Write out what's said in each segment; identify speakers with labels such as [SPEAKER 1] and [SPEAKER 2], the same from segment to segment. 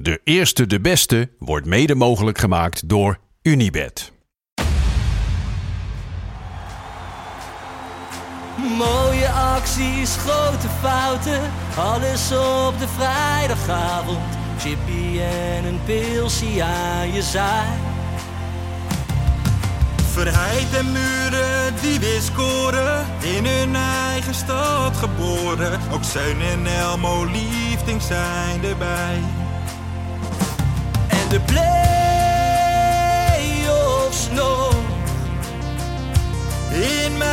[SPEAKER 1] De eerste de beste wordt mede mogelijk gemaakt door Unibed.
[SPEAKER 2] Mooie acties, grote fouten, alles op de vrijdagavond. Chippy en een pilsie aan je zaai.
[SPEAKER 3] Verheid en muren die weer scoren, in hun eigen stad geboren. Ook Zijn en Elmo liefding zijn erbij.
[SPEAKER 2] En de play-offs nog
[SPEAKER 3] In mij.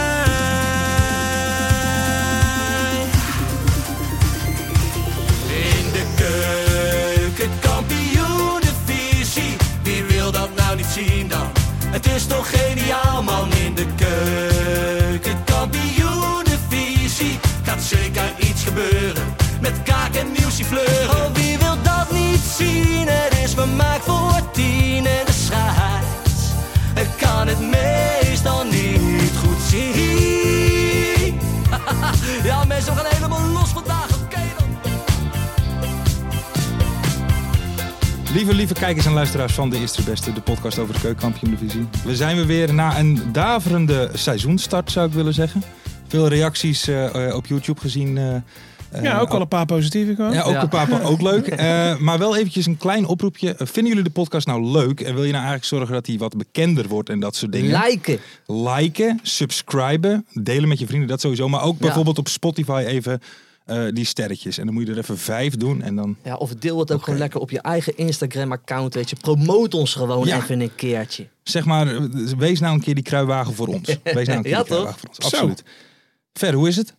[SPEAKER 2] in de keuken. Kampioenenvisie, wie wil dat nou niet zien dan? Het is toch geniaal man in de keuken. Kampioenenvisie, gaat zeker iets gebeuren. Met kaak en nieuwsie fleuren. Oh, wie wil dat niet zien? Het is vermaakt voor tien en de scheids. Ik kan het meestal niet goed zien. Ja, mensen, we gaan helemaal los vandaag. Oké dan.
[SPEAKER 4] Lieve, lieve kijkers en luisteraars van De Eerste de Beste, de podcast over de keukenkampioen-divisie. We zijn weer weer na een daverende seizoenstart, zou ik willen zeggen. Veel reacties eh, eh, op YouTube gezien. eh, eh,
[SPEAKER 5] Ja, ook wel een paar positieve gewoon.
[SPEAKER 4] Ja, ook een paar, maar ook leuk. Eh, maar wel eventjes een klein oproepje. Eh, Vinden jullie de podcast nou leuk? En wil je nou eigenlijk zorgen dat die wat bekender wordt en dat soort dingen?
[SPEAKER 6] Liken.
[SPEAKER 4] liken, subscriben, delen met je vrienden, dat sowieso. Maar ook bijvoorbeeld op Spotify even eh, die sterretjes. En dan moet je er even vijf doen en dan...
[SPEAKER 6] Ja, of deel het ook gewoon lekker op je eigen Instagram-account, weet je. Promote ons gewoon
[SPEAKER 4] Ja.
[SPEAKER 6] even een keertje.
[SPEAKER 4] Zeg maar, eh, wees nou een keer die kruiwagen voor ons. Wees nou een keer
[SPEAKER 6] Ja, toch?
[SPEAKER 4] die kruiwagen voor ons.
[SPEAKER 5] Zo.
[SPEAKER 4] Absoluut. Ver, hoe is het?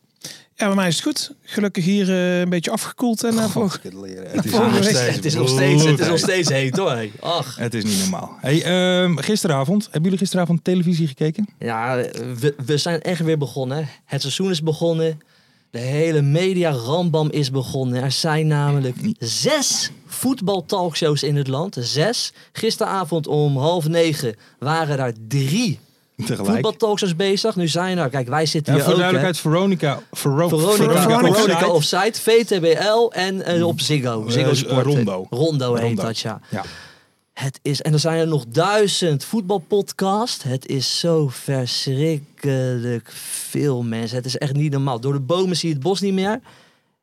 [SPEAKER 5] Ja, bij mij is het goed. Gelukkig hier eh, een beetje afgekoeld. En, eh, voor-
[SPEAKER 4] het leren. Het is
[SPEAKER 5] Volgende
[SPEAKER 4] nog
[SPEAKER 5] week.
[SPEAKER 4] steeds,
[SPEAKER 6] Het is nog steeds, het is nog
[SPEAKER 4] bloedheet.
[SPEAKER 6] steeds heet hoor. hé. Ach.
[SPEAKER 4] Het is niet normaal. Hey, ehm, gisteravond, hebben jullie gisteravond televisie gekeken?
[SPEAKER 6] Ja, we, we zijn echt weer begonnen. Het seizoen is begonnen. De hele media rambam is begonnen. Er zijn namelijk zes voetbaltalkshows in het land. Zes. Gisteravond om half negen waren er drie
[SPEAKER 4] Tegelijk.
[SPEAKER 6] voetbaltalkshows bezig. Nu zijn er, kijk, wij
[SPEAKER 4] Ja,
[SPEAKER 6] zitten
[SPEAKER 4] voor
[SPEAKER 6] hier ook. hè.
[SPEAKER 4] duidelijkheid, Veronica, Vero-
[SPEAKER 6] Veronica,
[SPEAKER 5] Veronica
[SPEAKER 6] Veronica,
[SPEAKER 4] Offside.
[SPEAKER 6] Offside, VTBL en eh, op Ziggo.
[SPEAKER 4] Eh,
[SPEAKER 6] Ziggo Sport. eh,
[SPEAKER 4] Rondo.
[SPEAKER 6] Rondo heet
[SPEAKER 4] Rondo.
[SPEAKER 6] dat, ja.
[SPEAKER 4] Ja.
[SPEAKER 6] Het is, en er zijn er nog duizend voetbalpodcasts. Het is zo verschrikkelijk veel mensen. Het is echt niet normaal. Door de bomen zie je het bos niet meer.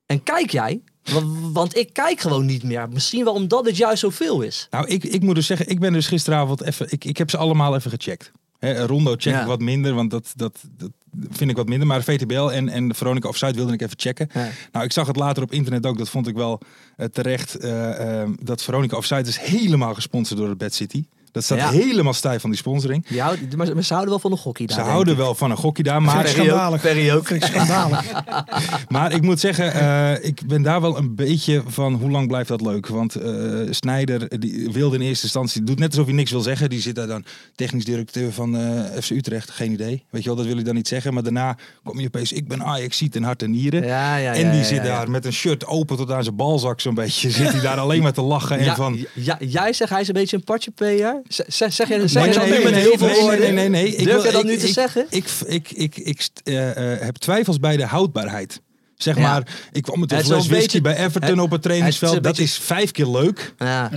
[SPEAKER 6] En kijk jij? Wa- Want ik kijk gewoon niet meer. Misschien wel omdat het juist zoveel is.
[SPEAKER 4] Nou, ik, ik moet dus zeggen, ik ben dus gisteravond even. Ik, ik heb ze allemaal even gecheckt. Hè, Rondo check
[SPEAKER 6] Ja.
[SPEAKER 4] ik wat minder, want dat, dat, dat vind ik wat minder. Maar VTBL en, en de Veronica Offside wilde ik even checken.
[SPEAKER 6] Ja.
[SPEAKER 4] Nou, ik zag het later op internet ook. Dat vond ik wel eh, terecht. eh, eh, dat Veronica Offside is helemaal gesponsord door de Bad City. Dat staat
[SPEAKER 6] Ja.
[SPEAKER 4] helemaal stijf van die sponsoring.
[SPEAKER 6] Je houdt- maar, maar ze houden wel van een gokkie daar.
[SPEAKER 4] Ze
[SPEAKER 6] denk
[SPEAKER 4] houden
[SPEAKER 6] ik.
[SPEAKER 4] wel van een gokje daar, maar
[SPEAKER 5] Vind ik schandalig.
[SPEAKER 6] Perry ook.
[SPEAKER 5] Vind ik schandalig.
[SPEAKER 4] Maar ik moet zeggen, eh, ik ben daar wel een beetje van hoe lang blijft dat leuk? Want eh Snijder die wilde in eerste instantie, doet net alsof hij niks wil zeggen. Die zit daar dan technisch directeur van eh, FC Utrecht, geen idee. Weet je wel, dat wil hij dan niet zeggen. Maar daarna kom je opeens, ik ben Ajax, ziet in hart en nieren.
[SPEAKER 6] Ja, ja,
[SPEAKER 4] en
[SPEAKER 6] ja,
[SPEAKER 4] die
[SPEAKER 6] ja,
[SPEAKER 4] zit
[SPEAKER 6] ja.
[SPEAKER 4] daar met een shirt open tot aan zijn balzak zo'n beetje. Zit hij daar alleen maar te lachen en
[SPEAKER 6] Ja,
[SPEAKER 4] van...
[SPEAKER 6] ja, ja, jij zegt hij is een beetje een partje player. Zeg, zeg, zeg jij zeg
[SPEAKER 4] Nee,
[SPEAKER 6] jij dat
[SPEAKER 4] nee,
[SPEAKER 6] nu
[SPEAKER 4] nee,
[SPEAKER 6] met
[SPEAKER 4] nee,
[SPEAKER 6] heel veel
[SPEAKER 4] nee, nee,
[SPEAKER 6] woorden?
[SPEAKER 4] nee, nee, nee. Ik
[SPEAKER 6] Durf
[SPEAKER 4] wil-
[SPEAKER 6] jij dat
[SPEAKER 4] ik-
[SPEAKER 6] nu te
[SPEAKER 4] ik-
[SPEAKER 6] zeggen?
[SPEAKER 4] Ik, ik, ik, ik st- eh, eh, heb twijfels bij de houdbaarheid. Zeg
[SPEAKER 6] Ja.
[SPEAKER 4] maar, ik kwam met een
[SPEAKER 6] Het is wel
[SPEAKER 4] fles
[SPEAKER 6] een
[SPEAKER 4] whisky
[SPEAKER 6] beetje-
[SPEAKER 4] bij Everton
[SPEAKER 6] het-
[SPEAKER 4] op het
[SPEAKER 6] het is
[SPEAKER 4] trainingsveld.
[SPEAKER 6] een
[SPEAKER 4] Dat
[SPEAKER 6] beetje-
[SPEAKER 4] is vijf keer leuk.
[SPEAKER 6] Ja.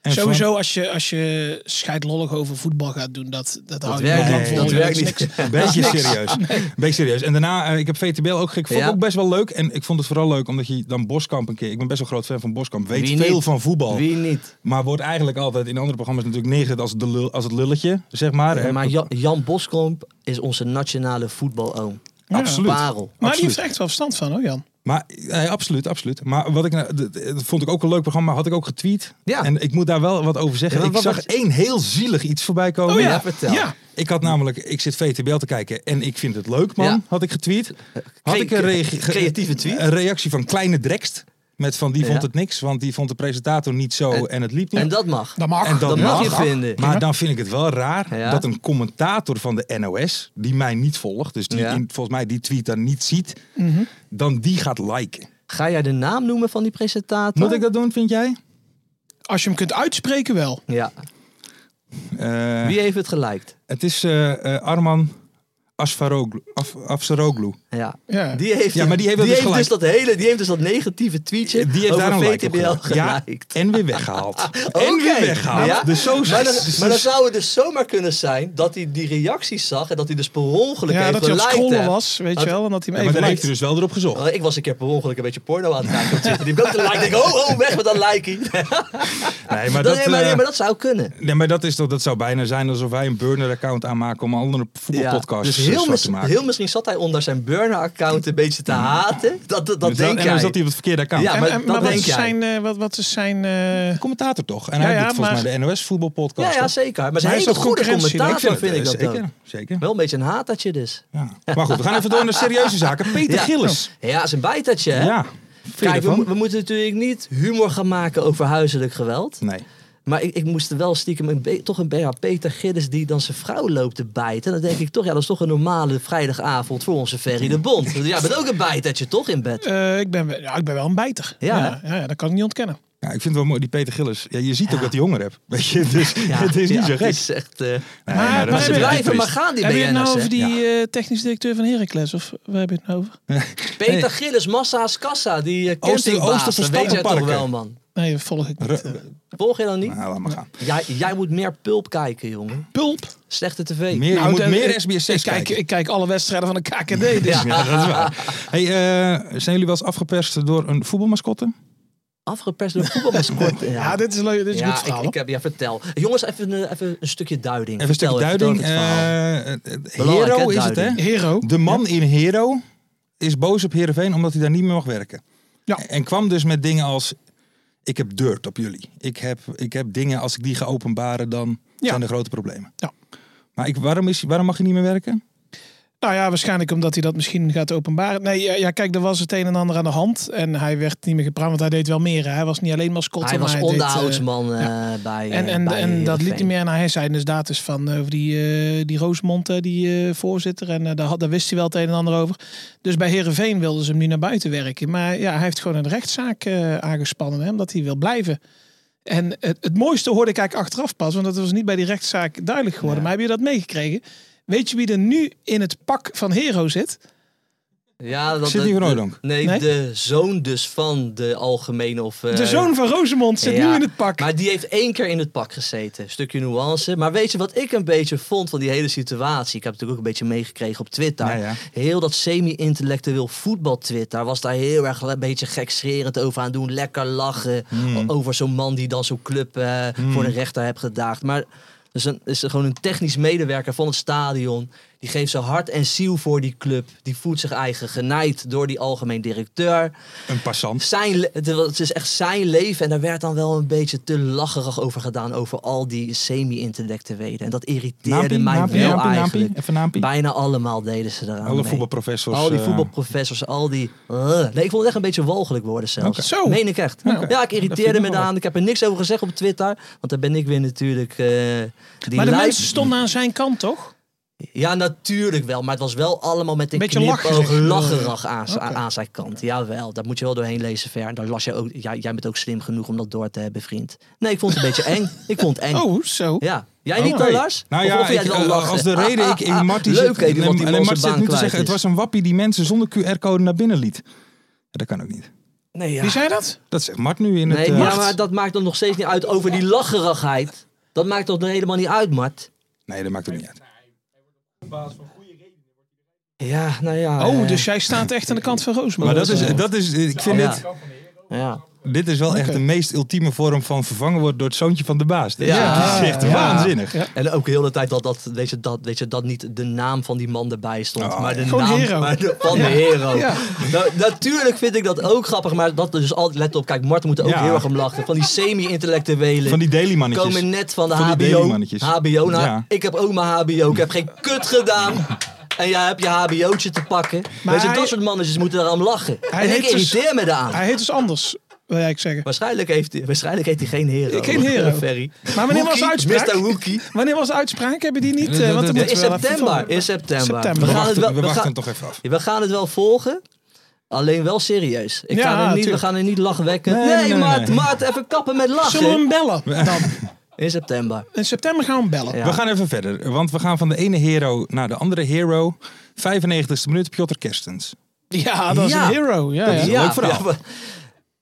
[SPEAKER 4] En
[SPEAKER 5] Sowieso als je, als je scheidlollig over voetbal gaat doen, dat, dat, houdt
[SPEAKER 6] werkt
[SPEAKER 5] niemand
[SPEAKER 4] niet.
[SPEAKER 5] vol.
[SPEAKER 4] Dat
[SPEAKER 6] werkt
[SPEAKER 5] is
[SPEAKER 6] niet.
[SPEAKER 5] niks.
[SPEAKER 4] Een beetje serieus. Een beetje serieus. En daarna, eh, ik heb VTBL ook gek. Vond ik
[SPEAKER 6] Ja.
[SPEAKER 4] ook best wel leuk. En ik vond het vooral leuk omdat je dan Boskamp een keer... Ik ben best wel groot fan van Boskamp. Weet
[SPEAKER 6] Wie
[SPEAKER 4] veel
[SPEAKER 6] niet?
[SPEAKER 4] van voetbal.
[SPEAKER 6] Wie niet?
[SPEAKER 4] Maar wordt eigenlijk altijd in andere programma's natuurlijk neergezet als, de lul, als het lulletje, zeg maar. Eh,
[SPEAKER 6] Maar Jan, Jan Boskamp is onze nationale voetbaloom.
[SPEAKER 4] absoluut. Oh
[SPEAKER 6] Parel.
[SPEAKER 5] Maar die
[SPEAKER 4] Absoluut.
[SPEAKER 5] heeft er echt wel verstand van, hoor Jan.
[SPEAKER 4] Maar eh, absoluut, absoluut. Maar wat ik, nou- d- d- dat vond ik ook een leuk programma, had ik ook getweet.
[SPEAKER 6] Ja.
[SPEAKER 4] En ik moet daar wel wat over zeggen.
[SPEAKER 6] Ja,
[SPEAKER 4] ik
[SPEAKER 6] wat-
[SPEAKER 4] zag
[SPEAKER 6] wat-
[SPEAKER 4] één heel zielig iets voorbij komen.
[SPEAKER 5] Oh ja,
[SPEAKER 6] ja, vertel.
[SPEAKER 5] Ja,
[SPEAKER 4] Ik had namelijk, ik zit VTBL te kijken en ik vind het leuk, man.
[SPEAKER 6] Ja.
[SPEAKER 4] Had ik getweet. Had ik een reagi- ge-
[SPEAKER 6] creatieve tweet.
[SPEAKER 4] Een reactie van Kleine Drekst. Met van die vond
[SPEAKER 6] Ja.
[SPEAKER 4] het niks, want die vond de presentator niet zo en,
[SPEAKER 6] En-
[SPEAKER 4] het liep niet.
[SPEAKER 6] En dat mag.
[SPEAKER 5] dat mag.
[SPEAKER 4] En dat
[SPEAKER 6] dat mag je vinden.
[SPEAKER 4] Maar dan vind ik het wel raar
[SPEAKER 6] Ja.
[SPEAKER 4] dat een commentator van de NOS, die mij niet volgt, dus die
[SPEAKER 6] Ja. Mhm.
[SPEAKER 4] in- volgens mij die tweet dan niet ziet, dan die gaat liken.
[SPEAKER 6] Ga jij de naam noemen van die presentator?
[SPEAKER 4] Moet ik dat doen, vind jij?
[SPEAKER 5] Als je hem kunt uitspreken wel.
[SPEAKER 6] Ja.
[SPEAKER 4] Eh,
[SPEAKER 6] Wie heeft het geliked?
[SPEAKER 4] het is eh, eh, Arman Asfaroglu. Af, Afsaroglu.
[SPEAKER 6] Ja.
[SPEAKER 5] Ja.
[SPEAKER 6] Die heeft,
[SPEAKER 4] Ja, maar die heeft dat dus
[SPEAKER 6] dus dat hele, die heeft dus dat negatieve tweetje
[SPEAKER 4] Die heeft
[SPEAKER 6] over
[SPEAKER 4] daar een like op
[SPEAKER 6] VTBL
[SPEAKER 4] gedaan. Ja,
[SPEAKER 6] geliked.
[SPEAKER 4] en weer weggehaald.
[SPEAKER 6] Oké.
[SPEAKER 4] En weer weggehaald.
[SPEAKER 6] Ja?
[SPEAKER 4] Dus zo
[SPEAKER 6] maar, dan, maar dan zou het dus zomaar kunnen zijn dat hij die reacties zag en dat hij dus per ongeluk
[SPEAKER 5] Ja,
[SPEAKER 6] heeft
[SPEAKER 5] dat hij aan het
[SPEAKER 6] geliked,
[SPEAKER 5] scrollen
[SPEAKER 6] hè.
[SPEAKER 5] was, weet
[SPEAKER 6] Dat-
[SPEAKER 5] je wel. En dat hij hem
[SPEAKER 4] maar
[SPEAKER 5] even
[SPEAKER 4] daar heeft
[SPEAKER 5] liked.
[SPEAKER 4] hij dus wel erop gezocht.
[SPEAKER 6] Oh, Ik was een keer per ongeluk een beetje porno aan het kijken op Twitter. Die heb ik ook gelijk. Ik denk, oh, oh, weg met dat likey.
[SPEAKER 4] Nee, maar
[SPEAKER 6] Dat,
[SPEAKER 4] dat,
[SPEAKER 6] nee, maar,
[SPEAKER 4] eh,
[SPEAKER 6] nee, maar dat zou kunnen.
[SPEAKER 4] Nee, maar dat, is toch, dat zou bijna zijn alsof wij een burner-account aanmaken om andere voetbalpodcasts
[SPEAKER 6] dus heel,
[SPEAKER 4] eh, zwart
[SPEAKER 6] mis-
[SPEAKER 4] te maken. Mm.
[SPEAKER 6] heel misschien zat hij onder zijn burner-account een beetje te haten. Dat, dat, dat
[SPEAKER 4] Dus
[SPEAKER 6] denk
[SPEAKER 4] en dan
[SPEAKER 6] jij.
[SPEAKER 4] zat hij op het verkeerde account.
[SPEAKER 6] Ja,
[SPEAKER 5] En-
[SPEAKER 6] maar
[SPEAKER 5] en-
[SPEAKER 6] dat
[SPEAKER 5] maar wat
[SPEAKER 6] denk
[SPEAKER 5] is
[SPEAKER 6] jij.
[SPEAKER 5] zijn... eh, wat- Wat is zijn... eh,
[SPEAKER 4] Commentator toch? En
[SPEAKER 5] Ja,
[SPEAKER 4] hij
[SPEAKER 5] ja,
[SPEAKER 4] doet volgens
[SPEAKER 5] maar-
[SPEAKER 4] mij de NOS voetbalpodcast.
[SPEAKER 6] Ja, ja,
[SPEAKER 4] toch?
[SPEAKER 6] zeker. Maar zijn
[SPEAKER 5] hij is
[SPEAKER 6] hele
[SPEAKER 5] toch
[SPEAKER 6] goede
[SPEAKER 5] concurrentie?
[SPEAKER 6] commentator vind,
[SPEAKER 4] het,
[SPEAKER 6] ik dat
[SPEAKER 4] eh,
[SPEAKER 6] ook.
[SPEAKER 4] zeker. zeker.
[SPEAKER 6] Wel een beetje een hatertje dus.
[SPEAKER 4] Ja. Maar goed, we gaan even door naar serieuze zaken. Peter
[SPEAKER 6] Ja.
[SPEAKER 4] Gillis.
[SPEAKER 6] Ja, is een bijtertje hè?
[SPEAKER 4] Ja. Vind je
[SPEAKER 6] Kijk, we,
[SPEAKER 4] ervan?
[SPEAKER 6] mo- we moeten natuurlijk niet humor gaan maken over huiselijk geweld.
[SPEAKER 4] Nee.
[SPEAKER 6] Maar ik, ik moest er wel stiekem een be- toch een BH Peter Gillis die dan zijn vrouw loopt te bijten. Dan denk ik toch, ja, dat is toch een normale vrijdagavond voor onze Ferry de Bond. Jij bent ook een bijtertje toch in bed?
[SPEAKER 5] eh, ik, ben, wel- ja, ik ben wel een bijter.
[SPEAKER 6] Ja,
[SPEAKER 5] Ja, ja, ja, dat kan ik niet ontkennen.
[SPEAKER 4] Ja, ik vind het wel mooi, die Peter Gillis. Ja, je ziet ook
[SPEAKER 6] Ja.
[SPEAKER 4] dat hij honger hebt. Weet je, dus het is niet
[SPEAKER 6] ja,
[SPEAKER 4] zo gek.
[SPEAKER 6] Het is echt, eh,
[SPEAKER 4] Nee,
[SPEAKER 5] Maar-
[SPEAKER 4] maar dat
[SPEAKER 5] maar
[SPEAKER 4] is
[SPEAKER 6] ze
[SPEAKER 5] hebben-
[SPEAKER 4] een
[SPEAKER 6] blijven
[SPEAKER 4] beetje
[SPEAKER 6] maar
[SPEAKER 4] triest.
[SPEAKER 6] gaan, die
[SPEAKER 5] Heb je het nou
[SPEAKER 6] BN'ers.
[SPEAKER 5] over
[SPEAKER 6] hè?
[SPEAKER 5] die eh, technisch directeur van Heracles? Of waar heb je het nou over?
[SPEAKER 6] Peter Gillis, Massa's Kassa, die eh,
[SPEAKER 4] Ooster-
[SPEAKER 6] campingbaas.
[SPEAKER 4] Ooster
[SPEAKER 6] dat weet jij toch
[SPEAKER 4] Verstappenparken.
[SPEAKER 6] wel, man.
[SPEAKER 5] Nee, dat volg ik niet. eh.
[SPEAKER 4] Ru-
[SPEAKER 6] Volg je dan niet?
[SPEAKER 4] Nou, laat maar gaan.
[SPEAKER 6] Jij, jij moet meer pulp kijken, jongen.
[SPEAKER 5] Pulp.
[SPEAKER 6] Slechte tv.
[SPEAKER 4] Meer, je moet
[SPEAKER 5] Nou, de-
[SPEAKER 4] meer SBS6
[SPEAKER 5] ik kijk,
[SPEAKER 4] kijken.
[SPEAKER 5] ik kijk alle wedstrijden van de KKD.
[SPEAKER 6] Ja.
[SPEAKER 5] Dus.
[SPEAKER 4] Ja, dat is waar. Hey, eh, zijn jullie wel eens afgeperst door een voetbalmascotte?
[SPEAKER 6] Afgeperst door voetbalmascotte.
[SPEAKER 5] Ja, dit is leuk. Dit is een
[SPEAKER 6] Ja,
[SPEAKER 5] goed verhaal.
[SPEAKER 6] ik, ik heb, ja, vertel. Jongens, even, eh, even een stukje duiding.
[SPEAKER 4] Even een stukje
[SPEAKER 6] Vertel
[SPEAKER 4] duiding.
[SPEAKER 6] vertel het verhaal.
[SPEAKER 4] Eh, eh,
[SPEAKER 6] Belangrijk,
[SPEAKER 4] Hero
[SPEAKER 6] hè,
[SPEAKER 4] is het, hè?
[SPEAKER 6] duiding.
[SPEAKER 5] hoor. Hero.
[SPEAKER 4] De man in Hero is boos op Heerenveen omdat hij daar niet meer mag werken.
[SPEAKER 5] Ja.
[SPEAKER 4] En kwam dus met dingen als... Ik heb dirt op jullie. Ik heb, ik heb dingen, als ik die ga openbaren, dan
[SPEAKER 5] Ja.
[SPEAKER 4] zijn er grote problemen.
[SPEAKER 5] Ja.
[SPEAKER 4] Maar ik, waarom, is, waarom mag je niet meer werken?
[SPEAKER 5] Nou ja, waarschijnlijk omdat hij dat misschien gaat openbaren. Nee, ja, ja, kijk, er was het een en ander aan de hand. En hij werd niet meer gepraat, want hij deed wel meer. hè. Hij was niet alleen mascotte,
[SPEAKER 6] Hij
[SPEAKER 5] maar
[SPEAKER 6] was
[SPEAKER 5] deed, eh,
[SPEAKER 6] onderhoudsman eh, bij
[SPEAKER 5] En,
[SPEAKER 6] eh,
[SPEAKER 5] en,
[SPEAKER 6] bij
[SPEAKER 5] en dat liet
[SPEAKER 6] Heerenveen.
[SPEAKER 5] hij meer. En hij zei inderdaad dus van eh, over die, eh, die Roosmond, eh, die eh, voorzitter. En eh, daar, had, daar wist hij wel het een en ander over. Dus bij Herenveen wilden ze hem nu naar buiten werken. Maar ja, hij heeft gewoon een rechtszaak eh, aangespannen, hè, omdat hij wil blijven. En het, het mooiste hoorde ik eigenlijk achteraf pas, want dat was niet bij die rechtszaak duidelijk geworden. Maar heb je dat meegekregen? Weet je wie er nu in het pak van Hero zit?
[SPEAKER 6] Ja, dat,
[SPEAKER 4] Sidney
[SPEAKER 6] de-
[SPEAKER 4] van
[SPEAKER 6] de-
[SPEAKER 4] Hooydonk.
[SPEAKER 6] Nee,
[SPEAKER 5] Nee?
[SPEAKER 6] de zoon dus van de algemene of... eh,
[SPEAKER 5] De zoon van Rosemond zit
[SPEAKER 6] ja.
[SPEAKER 5] nu in het pak.
[SPEAKER 6] Maar die heeft één keer in het pak gezeten. Stukje nuance. Maar weet je wat ik een beetje vond van die hele situatie? Ik heb natuurlijk ook een beetje meegekregen op Twitter.
[SPEAKER 4] Ja, ja.
[SPEAKER 6] Heel dat semi-intellectueel voetbal-Twitter was daar heel erg een beetje gekscherend over aan het doen. Lekker lachen
[SPEAKER 4] Hmm.
[SPEAKER 6] o- over zo'n man die dan zo'n club eh, voor de rechter heeft gedaagd. Maar dus een, is er gewoon een technisch medewerker van het stadion. Die geeft zijn hart en ziel voor die club. Die voedt zich eigen genaaid door die algemeen directeur.
[SPEAKER 4] Een passant.
[SPEAKER 6] Zijn, le- het was- het is echt zijn leven. En daar werd dan wel een beetje te lacherig over gedaan. Over al die semi-intellectuelen. En dat irriteerde
[SPEAKER 4] Naampie,
[SPEAKER 6] mij
[SPEAKER 4] naampie,
[SPEAKER 6] wel
[SPEAKER 4] naampie,
[SPEAKER 6] eigenlijk.
[SPEAKER 4] naampie. Even naampie.
[SPEAKER 6] Bijna allemaal deden ze eraan
[SPEAKER 4] Alle
[SPEAKER 6] mee.
[SPEAKER 4] voetbalprofessors.
[SPEAKER 6] Al die
[SPEAKER 4] eh,
[SPEAKER 6] voetbalprofessors, al die... Ugh. Nee, ik vond het echt een beetje walgelijk worden zelfs.
[SPEAKER 5] Oké. Zo.
[SPEAKER 6] Meen ik echt.
[SPEAKER 5] Nou,
[SPEAKER 6] Ja, ik
[SPEAKER 4] vind
[SPEAKER 6] irriteerde
[SPEAKER 4] ik
[SPEAKER 6] me
[SPEAKER 4] nog wel
[SPEAKER 6] aan. Ik heb er niks over gezegd op Twitter. Want daar ben ik weer natuurlijk... eh, die
[SPEAKER 5] maar de
[SPEAKER 6] lui-
[SPEAKER 5] mensen stonden aan zijn kant, toch?
[SPEAKER 6] Ja, natuurlijk wel. Maar het was wel allemaal met een
[SPEAKER 5] Beetje
[SPEAKER 6] knipoog
[SPEAKER 5] lacherig.
[SPEAKER 6] lacherig aan,
[SPEAKER 5] Oké.
[SPEAKER 6] aan zijn kant. Jawel, dat moet je wel doorheen lezen, Ver. En dan las je ook... Ja, jij bent ook slim genoeg om dat door te hebben, vriend. Nee, ik vond het een beetje eng. Ik vond het eng.
[SPEAKER 5] Oh, zo.
[SPEAKER 6] Ja. Jij
[SPEAKER 4] Oké.
[SPEAKER 6] niet dan, Lars?
[SPEAKER 4] Nou
[SPEAKER 6] Of
[SPEAKER 4] ja,
[SPEAKER 6] vond jij
[SPEAKER 4] ik,
[SPEAKER 6] het wel
[SPEAKER 4] eh,
[SPEAKER 6] lachen? Ah,
[SPEAKER 4] als de reden ik in Martie
[SPEAKER 6] Leuk, hè,
[SPEAKER 4] zit,
[SPEAKER 6] die man die
[SPEAKER 4] alleen
[SPEAKER 6] wel zijn
[SPEAKER 4] Martie zit
[SPEAKER 6] baan
[SPEAKER 4] nu te
[SPEAKER 6] kwijt
[SPEAKER 4] zeggen, het
[SPEAKER 6] is.
[SPEAKER 4] was een wappie die mensen zonder QR-code naar binnen liet. Ja, dat kan ook niet.
[SPEAKER 6] Nee, ja.
[SPEAKER 5] Wie zei dat?
[SPEAKER 4] Dat zegt Mart nu in het...
[SPEAKER 6] Nee,
[SPEAKER 4] eh,
[SPEAKER 6] ja, maar dat maakt dan nog steeds niet uit over die lacherigheid. Dat maakt toch helemaal niet uit, Mart?
[SPEAKER 4] nee, dat maakt ook niet uit.
[SPEAKER 6] Ja, nou ja.
[SPEAKER 5] Oh,
[SPEAKER 6] eh,
[SPEAKER 5] dus jij staat echt aan de kant van Roosman.
[SPEAKER 4] Maar dat is, dat is, ik vind
[SPEAKER 6] Oh, Ja.
[SPEAKER 4] dit,
[SPEAKER 6] Ja.
[SPEAKER 4] dit is wel echt de meest ultieme vorm van vervangen worden door het zoontje van de baas. Dit is-
[SPEAKER 6] Ja.
[SPEAKER 4] dit is echt
[SPEAKER 6] Ja.
[SPEAKER 4] waanzinnig.
[SPEAKER 6] En ook heel de tijd dat, dat, weet je, dat, weet je, dat niet de naam van die man erbij stond.
[SPEAKER 4] Oh,
[SPEAKER 6] maar de
[SPEAKER 5] Gewoon
[SPEAKER 6] naam
[SPEAKER 5] hero.
[SPEAKER 6] Maar de, van de hero. Nou, natuurlijk vind ik dat ook grappig. Maar dat dus altijd, let op, kijk, Mart moet er ook
[SPEAKER 4] Ja.
[SPEAKER 6] heel erg om lachen. Van die semi-intellectuelen.
[SPEAKER 4] Van die daily mannetjes.
[SPEAKER 6] komen net van de
[SPEAKER 4] Van die
[SPEAKER 6] HBO.
[SPEAKER 4] dailymannetjes.
[SPEAKER 6] HBO, nou,
[SPEAKER 4] Ja.
[SPEAKER 6] ik heb ook mijn HBO. Ik heb geen kut gedaan. En jij hebt je HBO'tje te pakken.
[SPEAKER 5] Maar
[SPEAKER 6] Weet je,
[SPEAKER 5] hij-
[SPEAKER 6] dat soort mannetjes moeten daar aan lachen.
[SPEAKER 5] Hij
[SPEAKER 6] en ik
[SPEAKER 5] heeft dus-
[SPEAKER 6] irriteer me daar
[SPEAKER 5] Hij heet dus anders, wil ik zeggen.
[SPEAKER 6] Waarschijnlijk heeft, hij- waarschijnlijk heeft hij geen hero.
[SPEAKER 5] Geen hero.
[SPEAKER 6] Ferry.
[SPEAKER 5] Maar wanneer was de
[SPEAKER 6] Hoekie,
[SPEAKER 5] uitspraak?
[SPEAKER 6] Mr. Hoekie.
[SPEAKER 5] Wanneer was de uitspraak? Hebben die niet? eh, want dan
[SPEAKER 4] Ja,
[SPEAKER 5] moeten
[SPEAKER 6] in
[SPEAKER 5] we wel even
[SPEAKER 6] september.
[SPEAKER 5] volgen.
[SPEAKER 6] In september.
[SPEAKER 5] September.
[SPEAKER 4] We
[SPEAKER 6] We gaan het
[SPEAKER 4] wachten,
[SPEAKER 6] wel,
[SPEAKER 4] we
[SPEAKER 6] we
[SPEAKER 4] wachten
[SPEAKER 6] gaan,
[SPEAKER 4] hem toch even af.
[SPEAKER 6] we gaan het wel volgen. Alleen wel serieus. Ik
[SPEAKER 5] Ja,
[SPEAKER 6] ga er niet, we
[SPEAKER 5] tuurlijk.
[SPEAKER 6] gaan er niet lachwekkend.
[SPEAKER 4] Nee,
[SPEAKER 6] Nee,
[SPEAKER 4] nee, nee,
[SPEAKER 6] Maart,
[SPEAKER 4] nee.
[SPEAKER 6] Maart, even kappen met lachen.
[SPEAKER 5] Zullen we hem bellen? Dan?
[SPEAKER 6] In september.
[SPEAKER 5] In september gaan we hem bellen.
[SPEAKER 6] Ja.
[SPEAKER 4] We gaan even verder, want we gaan van de ene hero naar de andere hero. 95e minuut, Piotr Kerstens.
[SPEAKER 5] Ja, dat is
[SPEAKER 6] Ja.
[SPEAKER 5] een hero. Ja, ja.
[SPEAKER 6] ja,
[SPEAKER 4] leuk verhaal.
[SPEAKER 6] ja, we-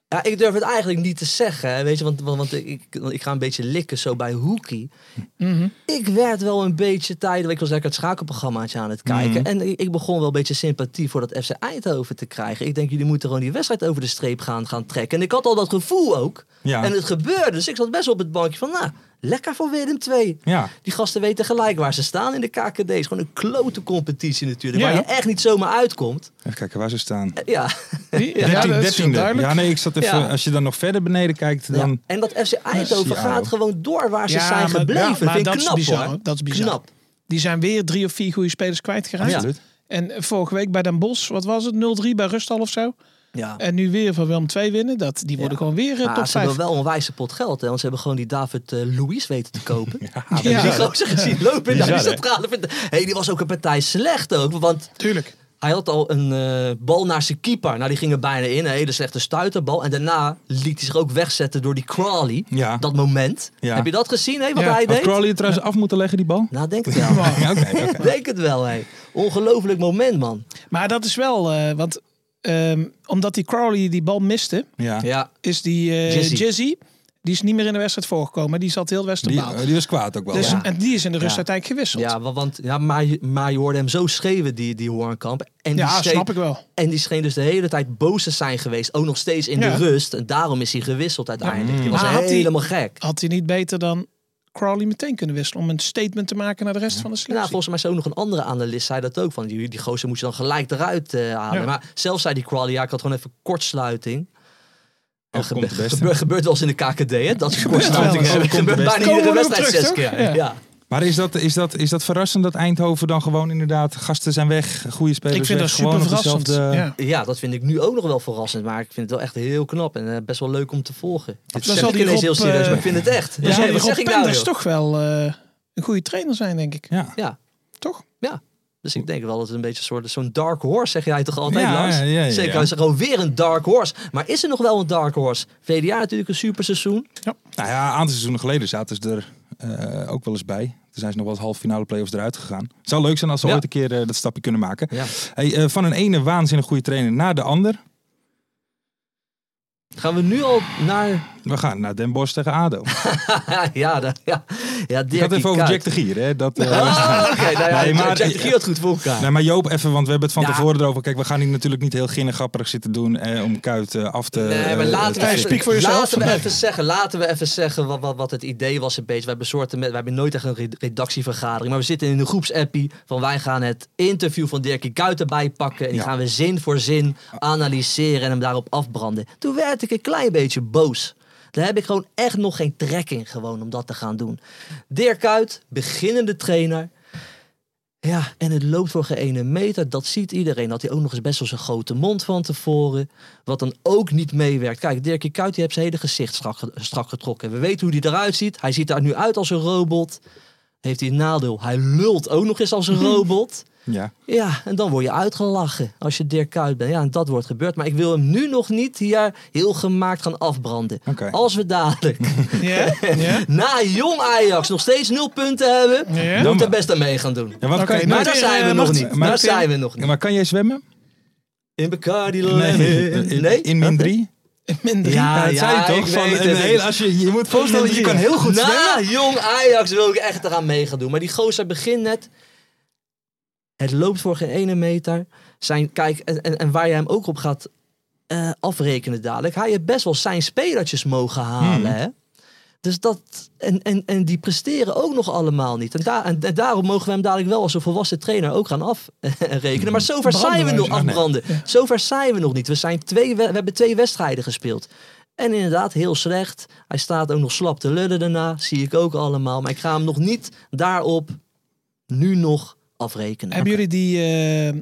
[SPEAKER 6] ja, ik durf het eigenlijk niet te zeggen, hè, weet je, want, want, want ik, want ik ga een beetje likken zo bij Hoekie.
[SPEAKER 5] Mhm.
[SPEAKER 6] Ik werd wel een beetje tijdelijk, ik was lekker het schakelprogrammaatje aan het kijken.
[SPEAKER 5] Mhm.
[SPEAKER 6] En ik, ik begon wel een beetje sympathie voor dat FC Eindhoven te krijgen. Ik denk, jullie moeten gewoon die wedstrijd over de streep gaan, gaan trekken. En ik had al dat gevoel ook.
[SPEAKER 4] Ja.
[SPEAKER 6] En het gebeurde, dus ik zat best wel op het bankje van, nou, lekker voor Willem II.
[SPEAKER 4] Ja.
[SPEAKER 6] Die gasten weten gelijk waar ze staan in de KKD. Het is gewoon een klote competitie natuurlijk,
[SPEAKER 5] Ja.
[SPEAKER 6] waar je echt niet zomaar uitkomt. Eh,
[SPEAKER 4] Even kijken waar ze staan.
[SPEAKER 6] Ja.
[SPEAKER 5] Die- ja,
[SPEAKER 4] 13,
[SPEAKER 5] dat is
[SPEAKER 4] 13e.
[SPEAKER 5] duidelijk.
[SPEAKER 4] Ja, nee, ik zat even,
[SPEAKER 6] Ja.
[SPEAKER 4] als je dan nog verder beneden kijkt,
[SPEAKER 6] Ja,
[SPEAKER 4] dan...
[SPEAKER 6] En dat FC Eindhoven
[SPEAKER 4] Ja,
[SPEAKER 6] gaat gewoon door waar ze
[SPEAKER 5] Ja,
[SPEAKER 6] zijn
[SPEAKER 5] maar-
[SPEAKER 6] gebleven.
[SPEAKER 5] ja, maar
[SPEAKER 6] Vind ik
[SPEAKER 5] dat is
[SPEAKER 6] knap
[SPEAKER 5] bizar,
[SPEAKER 6] hoor.
[SPEAKER 5] hoor. Dat is bizar.
[SPEAKER 6] Knap.
[SPEAKER 5] Die zijn weer drie of vier goede spelers kwijtgeraakt.
[SPEAKER 6] Ja.
[SPEAKER 5] En vorige week bij Den Bosch, wat was het? 0-3 bij Rustal of zo.
[SPEAKER 6] Ja.
[SPEAKER 5] En nu weer van Willem 2 winnen. Dat, die worden
[SPEAKER 6] Ja.
[SPEAKER 5] gewoon weer eh,
[SPEAKER 6] Maar
[SPEAKER 5] top
[SPEAKER 6] ze
[SPEAKER 5] 5.
[SPEAKER 6] hebben wel een wijze pot geld. Hè, want ze hebben gewoon die David eh Louis weten te kopen. ja,
[SPEAKER 5] bizar,
[SPEAKER 6] Die
[SPEAKER 5] hè?
[SPEAKER 6] gozer gezien lopen in de
[SPEAKER 4] Bizar, hè?
[SPEAKER 6] centrale. Hey, die was ook een partij slecht ook. Want
[SPEAKER 5] Tuurlijk.
[SPEAKER 6] hij had al een eh, bal naar zijn keeper. Nou, die ging er bijna in. Een hele slechte stuiterbal. En daarna liet hij zich ook wegzetten door die Crawley.
[SPEAKER 4] Ja.
[SPEAKER 6] Dat moment.
[SPEAKER 4] Ja.
[SPEAKER 6] Heb je dat gezien, hè, wat
[SPEAKER 5] Ja.
[SPEAKER 6] hij
[SPEAKER 4] Had
[SPEAKER 6] deed?
[SPEAKER 4] Crawley het trouwens af moeten leggen, die bal?
[SPEAKER 6] Nou, denk het wel.
[SPEAKER 4] Ja, oké. oké.
[SPEAKER 6] denk het wel, hé. Ongelooflijk moment, man.
[SPEAKER 5] Maar dat is wel, eh, want ehm, omdat die Crowley die bal miste,
[SPEAKER 4] Ja.
[SPEAKER 6] Ja.
[SPEAKER 5] is die eh,
[SPEAKER 6] Jizzy.
[SPEAKER 5] Jizzy, die is niet meer in de wedstrijd voorgekomen. Die zat heel de wedstrijd
[SPEAKER 4] Die,
[SPEAKER 5] op
[SPEAKER 4] eh, die was kwaad ook wel.
[SPEAKER 5] Dus,
[SPEAKER 4] ja.
[SPEAKER 5] En die is in de rust
[SPEAKER 6] Ja.
[SPEAKER 5] uiteindelijk gewisseld.
[SPEAKER 6] Ja, wa- want, ja maar, je- maar je hoorde hem zo schreeuwen, die, die Hoornkamp. En die
[SPEAKER 5] Ja,
[SPEAKER 6] schreef-
[SPEAKER 5] snap ik wel.
[SPEAKER 6] En die scheen dus de hele tijd boos te zijn geweest. Ook nog steeds in
[SPEAKER 5] Ja.
[SPEAKER 6] de rust. En daarom is hij gewisseld uiteindelijk. Die was
[SPEAKER 5] Maar had hij- Oh,
[SPEAKER 6] helemaal gek.
[SPEAKER 5] Had hij niet beter dan Crowley meteen kunnen wisselen om een statement te maken naar de rest van de
[SPEAKER 6] Nou,
[SPEAKER 5] selectie?
[SPEAKER 6] volgens mij zei ook nog een andere analist zei dat ook. Van die, die gozer moet je dan gelijk eruit eh, halen.
[SPEAKER 5] Ja.
[SPEAKER 6] Maar zelfs zei die Crawley, ja, ik had gewoon even kortsluiting. En
[SPEAKER 4] komt de beste.
[SPEAKER 6] gebeurt, gebeurt wel eens in de KKD, hè? Dat ze kortsluiting
[SPEAKER 4] wel
[SPEAKER 6] hebben.
[SPEAKER 4] eens. Ook komt de
[SPEAKER 6] Gebeurt bijna
[SPEAKER 5] beste.
[SPEAKER 6] iedere
[SPEAKER 5] Komen we nog
[SPEAKER 6] wedstrijd
[SPEAKER 5] terug,
[SPEAKER 6] zes
[SPEAKER 5] toch?
[SPEAKER 6] keer.
[SPEAKER 5] Ja.
[SPEAKER 6] ja.
[SPEAKER 4] Maar is dat, is, dat, is dat verrassend dat Eindhoven dan gewoon inderdaad... Gasten zijn weg, goede spelers
[SPEAKER 5] ik vind
[SPEAKER 4] weg,
[SPEAKER 5] dat super
[SPEAKER 4] gewoon op
[SPEAKER 5] verrassend.
[SPEAKER 4] dezelfde-
[SPEAKER 5] Ja.
[SPEAKER 6] Ja, dat vind ik nu ook nog wel verrassend. Maar ik vind het wel echt heel knap en eh, best wel leuk om te volgen. Dit
[SPEAKER 5] zal
[SPEAKER 6] zeg ik
[SPEAKER 5] die
[SPEAKER 6] ineens heel
[SPEAKER 5] Rob,
[SPEAKER 6] serieus,
[SPEAKER 5] eh,
[SPEAKER 6] maar ik vind het echt.
[SPEAKER 5] Dus
[SPEAKER 6] Ja,
[SPEAKER 5] ja,
[SPEAKER 6] wat
[SPEAKER 5] Rob
[SPEAKER 6] zeg ik nou,
[SPEAKER 5] Penders
[SPEAKER 6] joh?
[SPEAKER 5] toch wel eh, een goede trainer zijn, denk ik.
[SPEAKER 4] Ja.
[SPEAKER 6] Ja,
[SPEAKER 5] Toch?
[SPEAKER 6] ja. Dus ik denk wel dat het een beetje een soort zo'n dark horse, zeg jij toch altijd,
[SPEAKER 4] Ja,
[SPEAKER 6] Lars?
[SPEAKER 4] ja, ja, ja.
[SPEAKER 6] Zeker, is er gewoon weer een dark horse. Maar is er nog wel een dark horse? VDA natuurlijk een super seizoen.
[SPEAKER 4] Nou ja, een aantal seizoenen geleden zaten ze er eh, ook wel eens bij. Toen zijn ze nog wel eens halve finale play-offs eruit gegaan. Het zou leuk zijn als ze
[SPEAKER 6] Ja.
[SPEAKER 4] ooit een keer eh, dat stapje kunnen maken.
[SPEAKER 6] Ja.
[SPEAKER 4] Hey, eh, van een ene waanzinnig goede trainer naar de ander.
[SPEAKER 6] Gaan we nu al naar...
[SPEAKER 4] We gaan naar Den Bosch tegen ADO.
[SPEAKER 6] ja, daar- ja, ja,
[SPEAKER 4] Ik
[SPEAKER 6] Dirk
[SPEAKER 4] had even over
[SPEAKER 6] Kuyt.
[SPEAKER 4] Jack de Gier. Hè? Dat, eh,
[SPEAKER 6] Ah, oké. nou ja,
[SPEAKER 4] Nee, maar-
[SPEAKER 6] Jack de Gier had goed voor elkaar.
[SPEAKER 4] Nee, maar Joop, even, want we hebben het van
[SPEAKER 6] Ah. Ja.
[SPEAKER 4] tevoren erover. Kijk, we gaan hier natuurlijk niet heel ginnengrapperig zitten doen eh, om Kuit eh, af te...
[SPEAKER 6] Nee, maar
[SPEAKER 4] eh,
[SPEAKER 6] laten we,
[SPEAKER 5] Nee,
[SPEAKER 6] even,
[SPEAKER 5] speak for yourself.
[SPEAKER 6] laten we even zeggen, laten we even zeggen wat, wat, wat het idee was een beetje. We hebben, soorten met, we hebben nooit echt een red- redactievergadering, maar we zitten in een groepsappie van wij gaan het interview van Dirkie Kuyt erbij pakken en die
[SPEAKER 4] Ja.
[SPEAKER 6] gaan we zin voor zin analyseren en hem daarop afbranden. Toen werd ik een klein beetje boos. Daar heb ik gewoon echt nog geen trek in gewoon om dat te gaan doen. Dirk Kuyt, beginnende trainer, ja, en het loopt voor geen ene meter. Dat ziet iedereen. Had hij ook nog eens best wel zijn grote mond van tevoren. Wat dan ook niet meewerkt. Kijk, Dirkie Kuyt die heeft zijn hele gezicht strak, ge- strak getrokken. We weten hoe hij eruit ziet. Hij ziet er nu uit als een robot. Heeft hij een nadeel. Hij lult ook nog eens als een robot.
[SPEAKER 4] Ja.
[SPEAKER 6] Ja, en dan word je uitgelachen als je Dirk Kuyt bent. Ja, en dat wordt gebeurd. Maar ik wil hem nu nog niet hier heel gemaakt gaan afbranden.
[SPEAKER 4] Oké.
[SPEAKER 6] Als we dadelijk
[SPEAKER 5] Ja? ja?
[SPEAKER 6] na jong Ajax nog steeds nul punten hebben...
[SPEAKER 5] Ja.
[SPEAKER 6] moet
[SPEAKER 4] Dan-
[SPEAKER 6] er best aan mee gaan doen.
[SPEAKER 4] Ja, want
[SPEAKER 5] Oké,
[SPEAKER 4] kan je-
[SPEAKER 5] nou,
[SPEAKER 6] Maar daar
[SPEAKER 5] Martin,
[SPEAKER 6] zijn we
[SPEAKER 5] eh,
[SPEAKER 6] nog
[SPEAKER 5] Martin,
[SPEAKER 6] niet. Daar
[SPEAKER 5] Martin.
[SPEAKER 6] zijn we nog niet.
[SPEAKER 4] maar kan jij zwemmen?
[SPEAKER 6] In Bacardi
[SPEAKER 4] Nee.
[SPEAKER 6] Lemon.
[SPEAKER 4] In min 3?
[SPEAKER 5] Minder.
[SPEAKER 6] Ja,
[SPEAKER 4] Ja, dat zei je toch?
[SPEAKER 6] ik
[SPEAKER 4] Van,
[SPEAKER 6] weet
[SPEAKER 4] een
[SPEAKER 6] het.
[SPEAKER 4] hele, als je, je moet voorstellen,
[SPEAKER 5] Minder
[SPEAKER 4] je
[SPEAKER 5] drie.
[SPEAKER 4] kan heel
[SPEAKER 6] Nou,
[SPEAKER 4] goed zwemmen.
[SPEAKER 6] Na jong Ajax wil ik echt eraan mee gaan doen. Maar die gozer begint net. Het loopt voor geen ene meter. Zijn, kijk, en, en, en waar je hem ook op gaat eh, afrekenen dadelijk. Hij heeft best wel zijn spelertjes mogen halen.
[SPEAKER 4] Hmm.
[SPEAKER 6] Hè? Dus dat, en, en, en die presteren ook nog allemaal niet. En, daar en, en daarom mogen we hem dadelijk wel als een volwassen trainer ook gaan afrekenen. Maar zover
[SPEAKER 4] Hmm.
[SPEAKER 6] zijn we
[SPEAKER 5] Branden
[SPEAKER 6] nog
[SPEAKER 5] wij ze.
[SPEAKER 4] Ah,
[SPEAKER 6] afbranden. Zover zijn we nog niet. We, zijn twee, we, we hebben twee wedstrijden gespeeld. En inderdaad, heel slecht. Hij staat ook nog slap te lullen daarna. Zie ik ook allemaal. Maar ik ga hem nog niet daarop nu nog afrekenen.
[SPEAKER 5] Hebben jullie die... eh,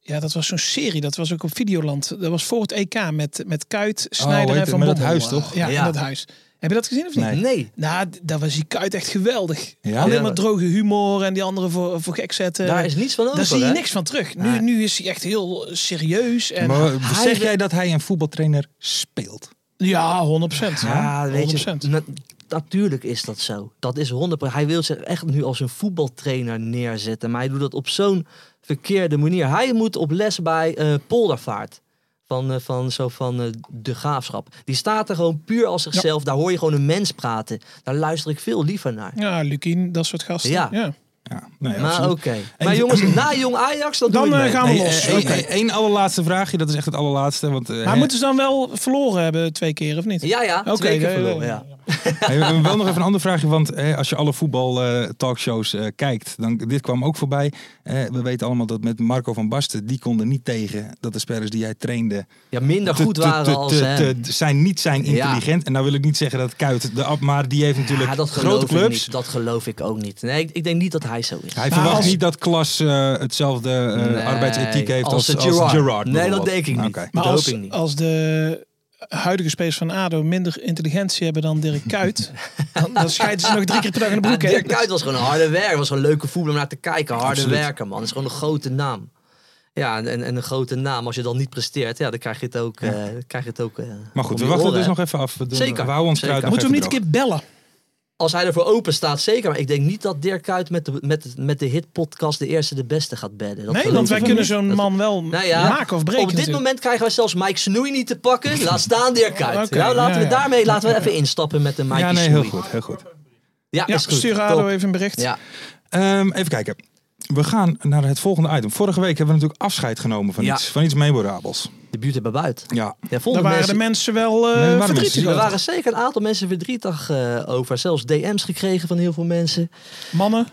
[SPEAKER 5] ja, dat was zo'n serie. Dat was ook op Videoland. Dat was voor het EK met, met Kuit, Snijder
[SPEAKER 4] Oh, heet
[SPEAKER 5] en
[SPEAKER 4] het,
[SPEAKER 5] Van
[SPEAKER 4] met dat
[SPEAKER 5] Bommel.
[SPEAKER 4] huis, toch?
[SPEAKER 5] Ja,
[SPEAKER 6] Ja.
[SPEAKER 5] met dat huis. Heb je dat gezien of niet?
[SPEAKER 4] Nee.
[SPEAKER 6] Nee.
[SPEAKER 5] Nou, d- daar was die Kuit echt geweldig.
[SPEAKER 4] Ja?
[SPEAKER 5] Alleen
[SPEAKER 6] Ja.
[SPEAKER 5] maar droge humor en die anderen voor, voor gek zetten.
[SPEAKER 6] Daar is niets van over.
[SPEAKER 5] Daar zie je
[SPEAKER 6] hè?
[SPEAKER 5] niks van terug. Nu, nu is hij echt heel serieus. En
[SPEAKER 4] Maar
[SPEAKER 5] hij-
[SPEAKER 4] zeg jij dat hij een voetbaltrainer speelt?
[SPEAKER 5] Ja, 100%.
[SPEAKER 6] Ja, weet je,
[SPEAKER 5] 100%.
[SPEAKER 6] na- natuurlijk is dat zo. Dat is 100%. Hij wil zich echt nu als een voetbaltrainer neerzetten. Maar hij doet dat op zo'n verkeerde manier. Hij moet op les bij eh, Poldervaart. Van, eh, van, zo van eh, de graafschap. Die staat er gewoon puur als zichzelf. Daar hoor je gewoon een mens praten. Daar luister ik veel liever naar.
[SPEAKER 5] Ja, Lukien, dat soort gasten.
[SPEAKER 6] Ja.
[SPEAKER 5] ja.
[SPEAKER 4] Ja, nee,
[SPEAKER 6] maar oké.
[SPEAKER 4] absoluut.
[SPEAKER 6] Maar
[SPEAKER 4] Even-
[SPEAKER 6] jongens, na jong Ajax, dat
[SPEAKER 5] Dan,
[SPEAKER 6] doe ik
[SPEAKER 5] eh,
[SPEAKER 6] mee.
[SPEAKER 5] gaan we-
[SPEAKER 4] Nee,
[SPEAKER 5] los.
[SPEAKER 4] eh,
[SPEAKER 5] Oké.
[SPEAKER 4] één- één allerlaatste vraagje, dat is echt het allerlaatste. Want, eh,
[SPEAKER 5] Maar
[SPEAKER 4] hè,
[SPEAKER 5] moeten ze dan wel verloren hebben twee keer, of niet?
[SPEAKER 6] Ja, ja.
[SPEAKER 5] Oké,
[SPEAKER 6] twee keer
[SPEAKER 5] nee,
[SPEAKER 6] verloren,
[SPEAKER 5] nee,
[SPEAKER 6] ja.
[SPEAKER 4] Hey, we hebben wel nog even een ander vraagje, want hè, als je alle voetbaltalkshows talkshows eh, kijkt, dan, dit kwam ook voorbij. Eh, we weten allemaal dat met Marco van Basten, die konden niet tegen dat de spelers die hij trainde
[SPEAKER 6] Ja, minder goed
[SPEAKER 4] te- te-
[SPEAKER 6] waren
[SPEAKER 4] te-
[SPEAKER 6] als...
[SPEAKER 4] te-
[SPEAKER 6] hem.
[SPEAKER 4] te- zijn, niet zijn intelligent. En nou wil ik niet zeggen dat Kuit de ab, maar die heeft natuurlijk
[SPEAKER 6] Ja, dat geloof
[SPEAKER 4] grote
[SPEAKER 6] ik
[SPEAKER 4] clubs.
[SPEAKER 6] niet. Dat geloof ik ook niet. Nee, ik, ik denk niet dat hij zo is.
[SPEAKER 4] Hij verwacht
[SPEAKER 5] als-
[SPEAKER 4] niet dat Klas eh, hetzelfde eh,
[SPEAKER 6] Nee,
[SPEAKER 4] arbeidsethiek heeft
[SPEAKER 6] als
[SPEAKER 4] als,
[SPEAKER 6] het
[SPEAKER 4] als,
[SPEAKER 6] Gerrard.
[SPEAKER 4] Gerrard.
[SPEAKER 6] Nee,
[SPEAKER 4] bijvoorbeeld. Nou,
[SPEAKER 6] dat denk ik niet.
[SPEAKER 4] Oké.
[SPEAKER 5] Maar
[SPEAKER 6] Dat hoop
[SPEAKER 5] als,
[SPEAKER 6] ik niet.
[SPEAKER 5] als de huidige spelers van ADO minder intelligentie hebben dan Dirk Kuyt, dan, dan scheiden ze nog drie keer per dag in de broek. hè?
[SPEAKER 6] Ah, Dirk Kuyt was gewoon een harde werker. Was gewoon een leuke voetballer om naar te kijken. Harde
[SPEAKER 4] Absoluut.
[SPEAKER 6] werker, man. Dat is gewoon een grote naam. Ja, en, en, en een grote naam. Als je dan niet presteert, ja, dan krijg je het ook. eh krijg je het ook eh,
[SPEAKER 4] Maar goed,
[SPEAKER 6] om
[SPEAKER 4] we
[SPEAKER 6] je
[SPEAKER 4] wachten
[SPEAKER 6] oren,
[SPEAKER 4] dus
[SPEAKER 6] hè.
[SPEAKER 4] nog even af. We doen-
[SPEAKER 6] Zeker.
[SPEAKER 4] We houden ons
[SPEAKER 6] Zeker.
[SPEAKER 4] kruid nog
[SPEAKER 5] Moeten we hem
[SPEAKER 4] even
[SPEAKER 5] niet
[SPEAKER 4] droog.
[SPEAKER 5] een keer bellen?
[SPEAKER 6] Als hij ervoor open staat, zeker. Maar ik denk niet dat Dirk Kuyt met de, met, met de hitpodcast de eerste de beste gaat bedden. Dat
[SPEAKER 5] nee,
[SPEAKER 6] geloof
[SPEAKER 5] want wij
[SPEAKER 6] ik
[SPEAKER 5] kunnen
[SPEAKER 6] niet.
[SPEAKER 5] zo'n
[SPEAKER 6] Dat-
[SPEAKER 5] man wel
[SPEAKER 6] Nou ja,
[SPEAKER 5] maken of breken
[SPEAKER 6] Op dit
[SPEAKER 5] natuurlijk.
[SPEAKER 6] moment krijgen wij zelfs Mike Snoei niet te pakken. Laat staan Dirk Kuyt.
[SPEAKER 5] Oké,
[SPEAKER 6] nou, laten
[SPEAKER 5] ja,
[SPEAKER 6] we
[SPEAKER 5] ja.
[SPEAKER 6] daarmee laten we even instappen met de Mike
[SPEAKER 4] Ja, nee,
[SPEAKER 6] Snoei.
[SPEAKER 4] heel goed. Heel goed.
[SPEAKER 6] Ja,
[SPEAKER 5] Ja,
[SPEAKER 6] is goed.
[SPEAKER 5] stuur
[SPEAKER 6] Top.
[SPEAKER 5] ADO even een bericht.
[SPEAKER 6] Ja.
[SPEAKER 4] Ehm, even kijken. We gaan naar het volgende item. Vorige week hebben we natuurlijk afscheid genomen van,
[SPEAKER 6] Ja.
[SPEAKER 4] iets, van iets memorabels.
[SPEAKER 6] De buurt hebben buiten.
[SPEAKER 4] Ja.
[SPEAKER 6] Ja,
[SPEAKER 5] Daar
[SPEAKER 6] vonden
[SPEAKER 5] waren
[SPEAKER 6] mensen,
[SPEAKER 5] de mensen wel eh,
[SPEAKER 4] Nee, waren mensen
[SPEAKER 5] verdrietig
[SPEAKER 4] die
[SPEAKER 6] er
[SPEAKER 5] over.
[SPEAKER 6] waren zeker een aantal mensen verdrietig eh, over. Zelfs DM's gekregen van heel veel mensen.
[SPEAKER 5] Mannen,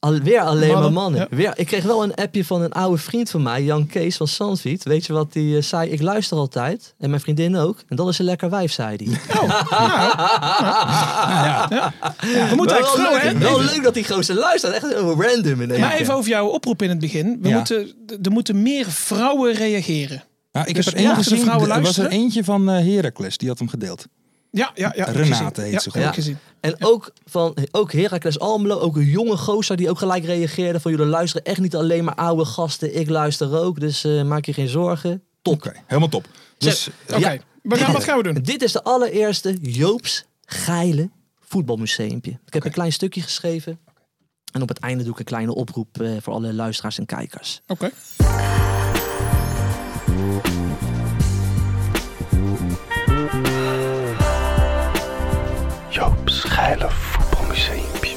[SPEAKER 6] Al, weer alleen
[SPEAKER 5] Mannen,
[SPEAKER 6] maar mannen.
[SPEAKER 5] ja.
[SPEAKER 6] Weer, ik kreeg wel een appje van een oude vriend van mij, Jan Kees van Sandviet. Weet je wat die eh, zei? Ik luister altijd. En mijn vriendin ook. En dat is een lekker wijf, zei hij.
[SPEAKER 5] Oh, nou, we moeten
[SPEAKER 6] wel,
[SPEAKER 5] eigenlijk
[SPEAKER 6] leuk,
[SPEAKER 5] vrouwen, hè?
[SPEAKER 6] wel leuk dat die gozer luistert. Echt heel random in één
[SPEAKER 5] Maar
[SPEAKER 6] keer.
[SPEAKER 5] even over jouw oproep in het begin. We
[SPEAKER 4] Ja.
[SPEAKER 5] moeten, d- er moeten meer vrouwen reageren.
[SPEAKER 4] Ja, ik
[SPEAKER 5] Dus
[SPEAKER 4] heb er één
[SPEAKER 5] mochten de
[SPEAKER 4] gezien.
[SPEAKER 5] vrouwen
[SPEAKER 4] Er was er
[SPEAKER 5] luisteren?
[SPEAKER 4] eentje van eh, Heracles. Die had hem gedeeld.
[SPEAKER 5] Ja, ja, ja.
[SPEAKER 4] Renate
[SPEAKER 5] gezien.
[SPEAKER 4] heet
[SPEAKER 5] ja,
[SPEAKER 4] ze
[SPEAKER 5] heb
[SPEAKER 4] gewoon.
[SPEAKER 5] ik gezien.
[SPEAKER 6] En ook van ook Heracles Almelo, ook een jonge gozer die ook gelijk reageerde van jullie luisteren echt niet alleen maar oude gasten, ik luister ook, dus eh, maak je geen zorgen. Top.
[SPEAKER 4] Oké, helemaal top. Dus
[SPEAKER 5] Oké, we gaan, wat gaan we doen?
[SPEAKER 6] Dit is de allereerste Joops Geile voetbalmuseumpje. Ik heb een klein stukje geschreven en op het einde doe ik een kleine oproep eh, voor alle luisteraars en kijkers.
[SPEAKER 5] Oké.
[SPEAKER 7] Joop's geile voetbalmuseumpje.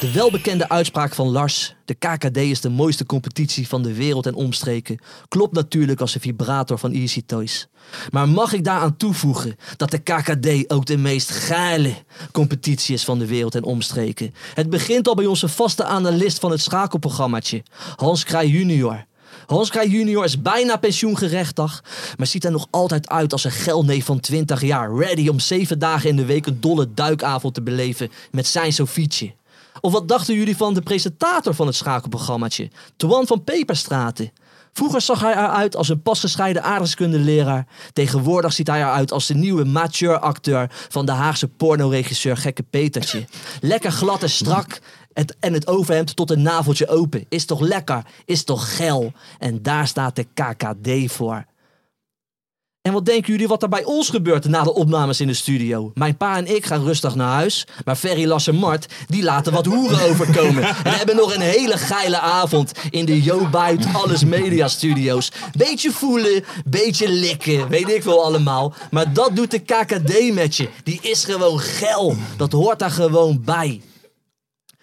[SPEAKER 6] De welbekende uitspraak van Lars, de KKD is de mooiste competitie van de wereld en omstreken, klopt natuurlijk als een vibrator van Easy Toys. Maar mag ik daaraan toevoegen dat de KKD ook de meest geile competitie is van de wereld en omstreken? Het begint al bij onze vaste analist van het schakelprogrammaatje, Hans Krij junior. Hans Krij junior is bijna pensioengerechtig, maar ziet er nog altijd uit als een gelneef van 20 jaar, ready om 7 dagen in de week een dolle duikavond te beleven met zijn Sofietje. Of wat dachten jullie van de presentator van het schakelprogrammaatje, Twan van Peperstraten? Vroeger zag hij eruit als een pasgescheiden aardrijkskundeleraar. Tegenwoordig ziet hij eruit als de nieuwe mature acteur van de Haagse pornoregisseur Gekke Petertje. Lekker glad en strak het, en het overhemd tot een naveltje open. Is toch lekker? Is toch geil? En daar staat de KKD voor. En wat denken jullie wat er bij ons gebeurt na de opnames in de studio? Mijn pa en ik gaan rustig naar huis. Maar Ferry, Las en Mart, die laten wat hoeren overkomen. En hebben nog een hele geile avond in de Jo Buit Alles Media Studios. Beetje voelen, beetje likken, weet ik wel allemaal. Maar dat doet de KKD met je. Die is gewoon geil. Dat hoort daar gewoon bij.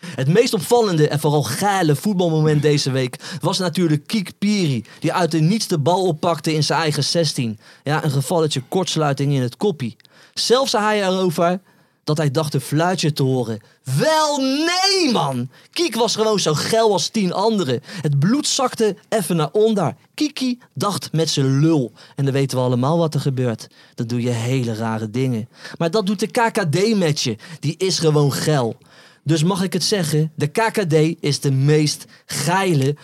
[SPEAKER 6] Het meest opvallende en vooral geile voetbalmoment deze week was natuurlijk Kiek Piri, die uit de niets de bal oppakte in zijn eigen 16. Ja, een gevalletje kortsluiting in het koppie. Zelfs zei hij erover dat hij dacht een fluitje te horen. Wel nee, man! Kiek was gewoon zo geil als tien anderen. Het bloed zakte even naar onder. Kiki dacht met zijn lul. En dan weten we allemaal wat er gebeurt. Dan doe je hele rare dingen. Maar dat doet de KKD met je. Die is gewoon geil. Dus mag ik het zeggen, de KKD is de meest geile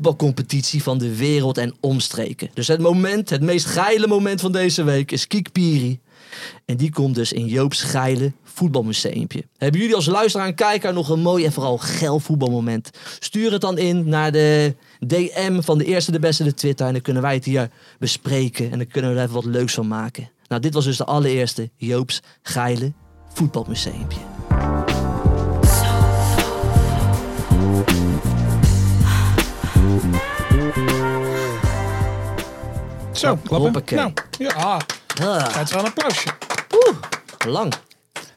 [SPEAKER 6] voetbalcompetitie van de wereld en omstreken. Dus het moment, het meest geile moment van deze week is Kiek Piri. En die komt dus in Joop's geile voetbalmuseumpje. Hebben jullie als luisteraar en kijker nog een mooi en vooral geil voetbalmoment? Stuur het dan in naar de DM van de eerste de beste de Twitter. En dan kunnen wij het hier bespreken en dan kunnen we er even wat leuks van maken. Nou, dit was dus de allereerste Joop's geile voetbalmuseumpje.
[SPEAKER 5] Zo, klappen.
[SPEAKER 6] Hoppakee.
[SPEAKER 5] Nou, ja,
[SPEAKER 6] Ah,
[SPEAKER 5] dat is wel een applausje.
[SPEAKER 6] lang.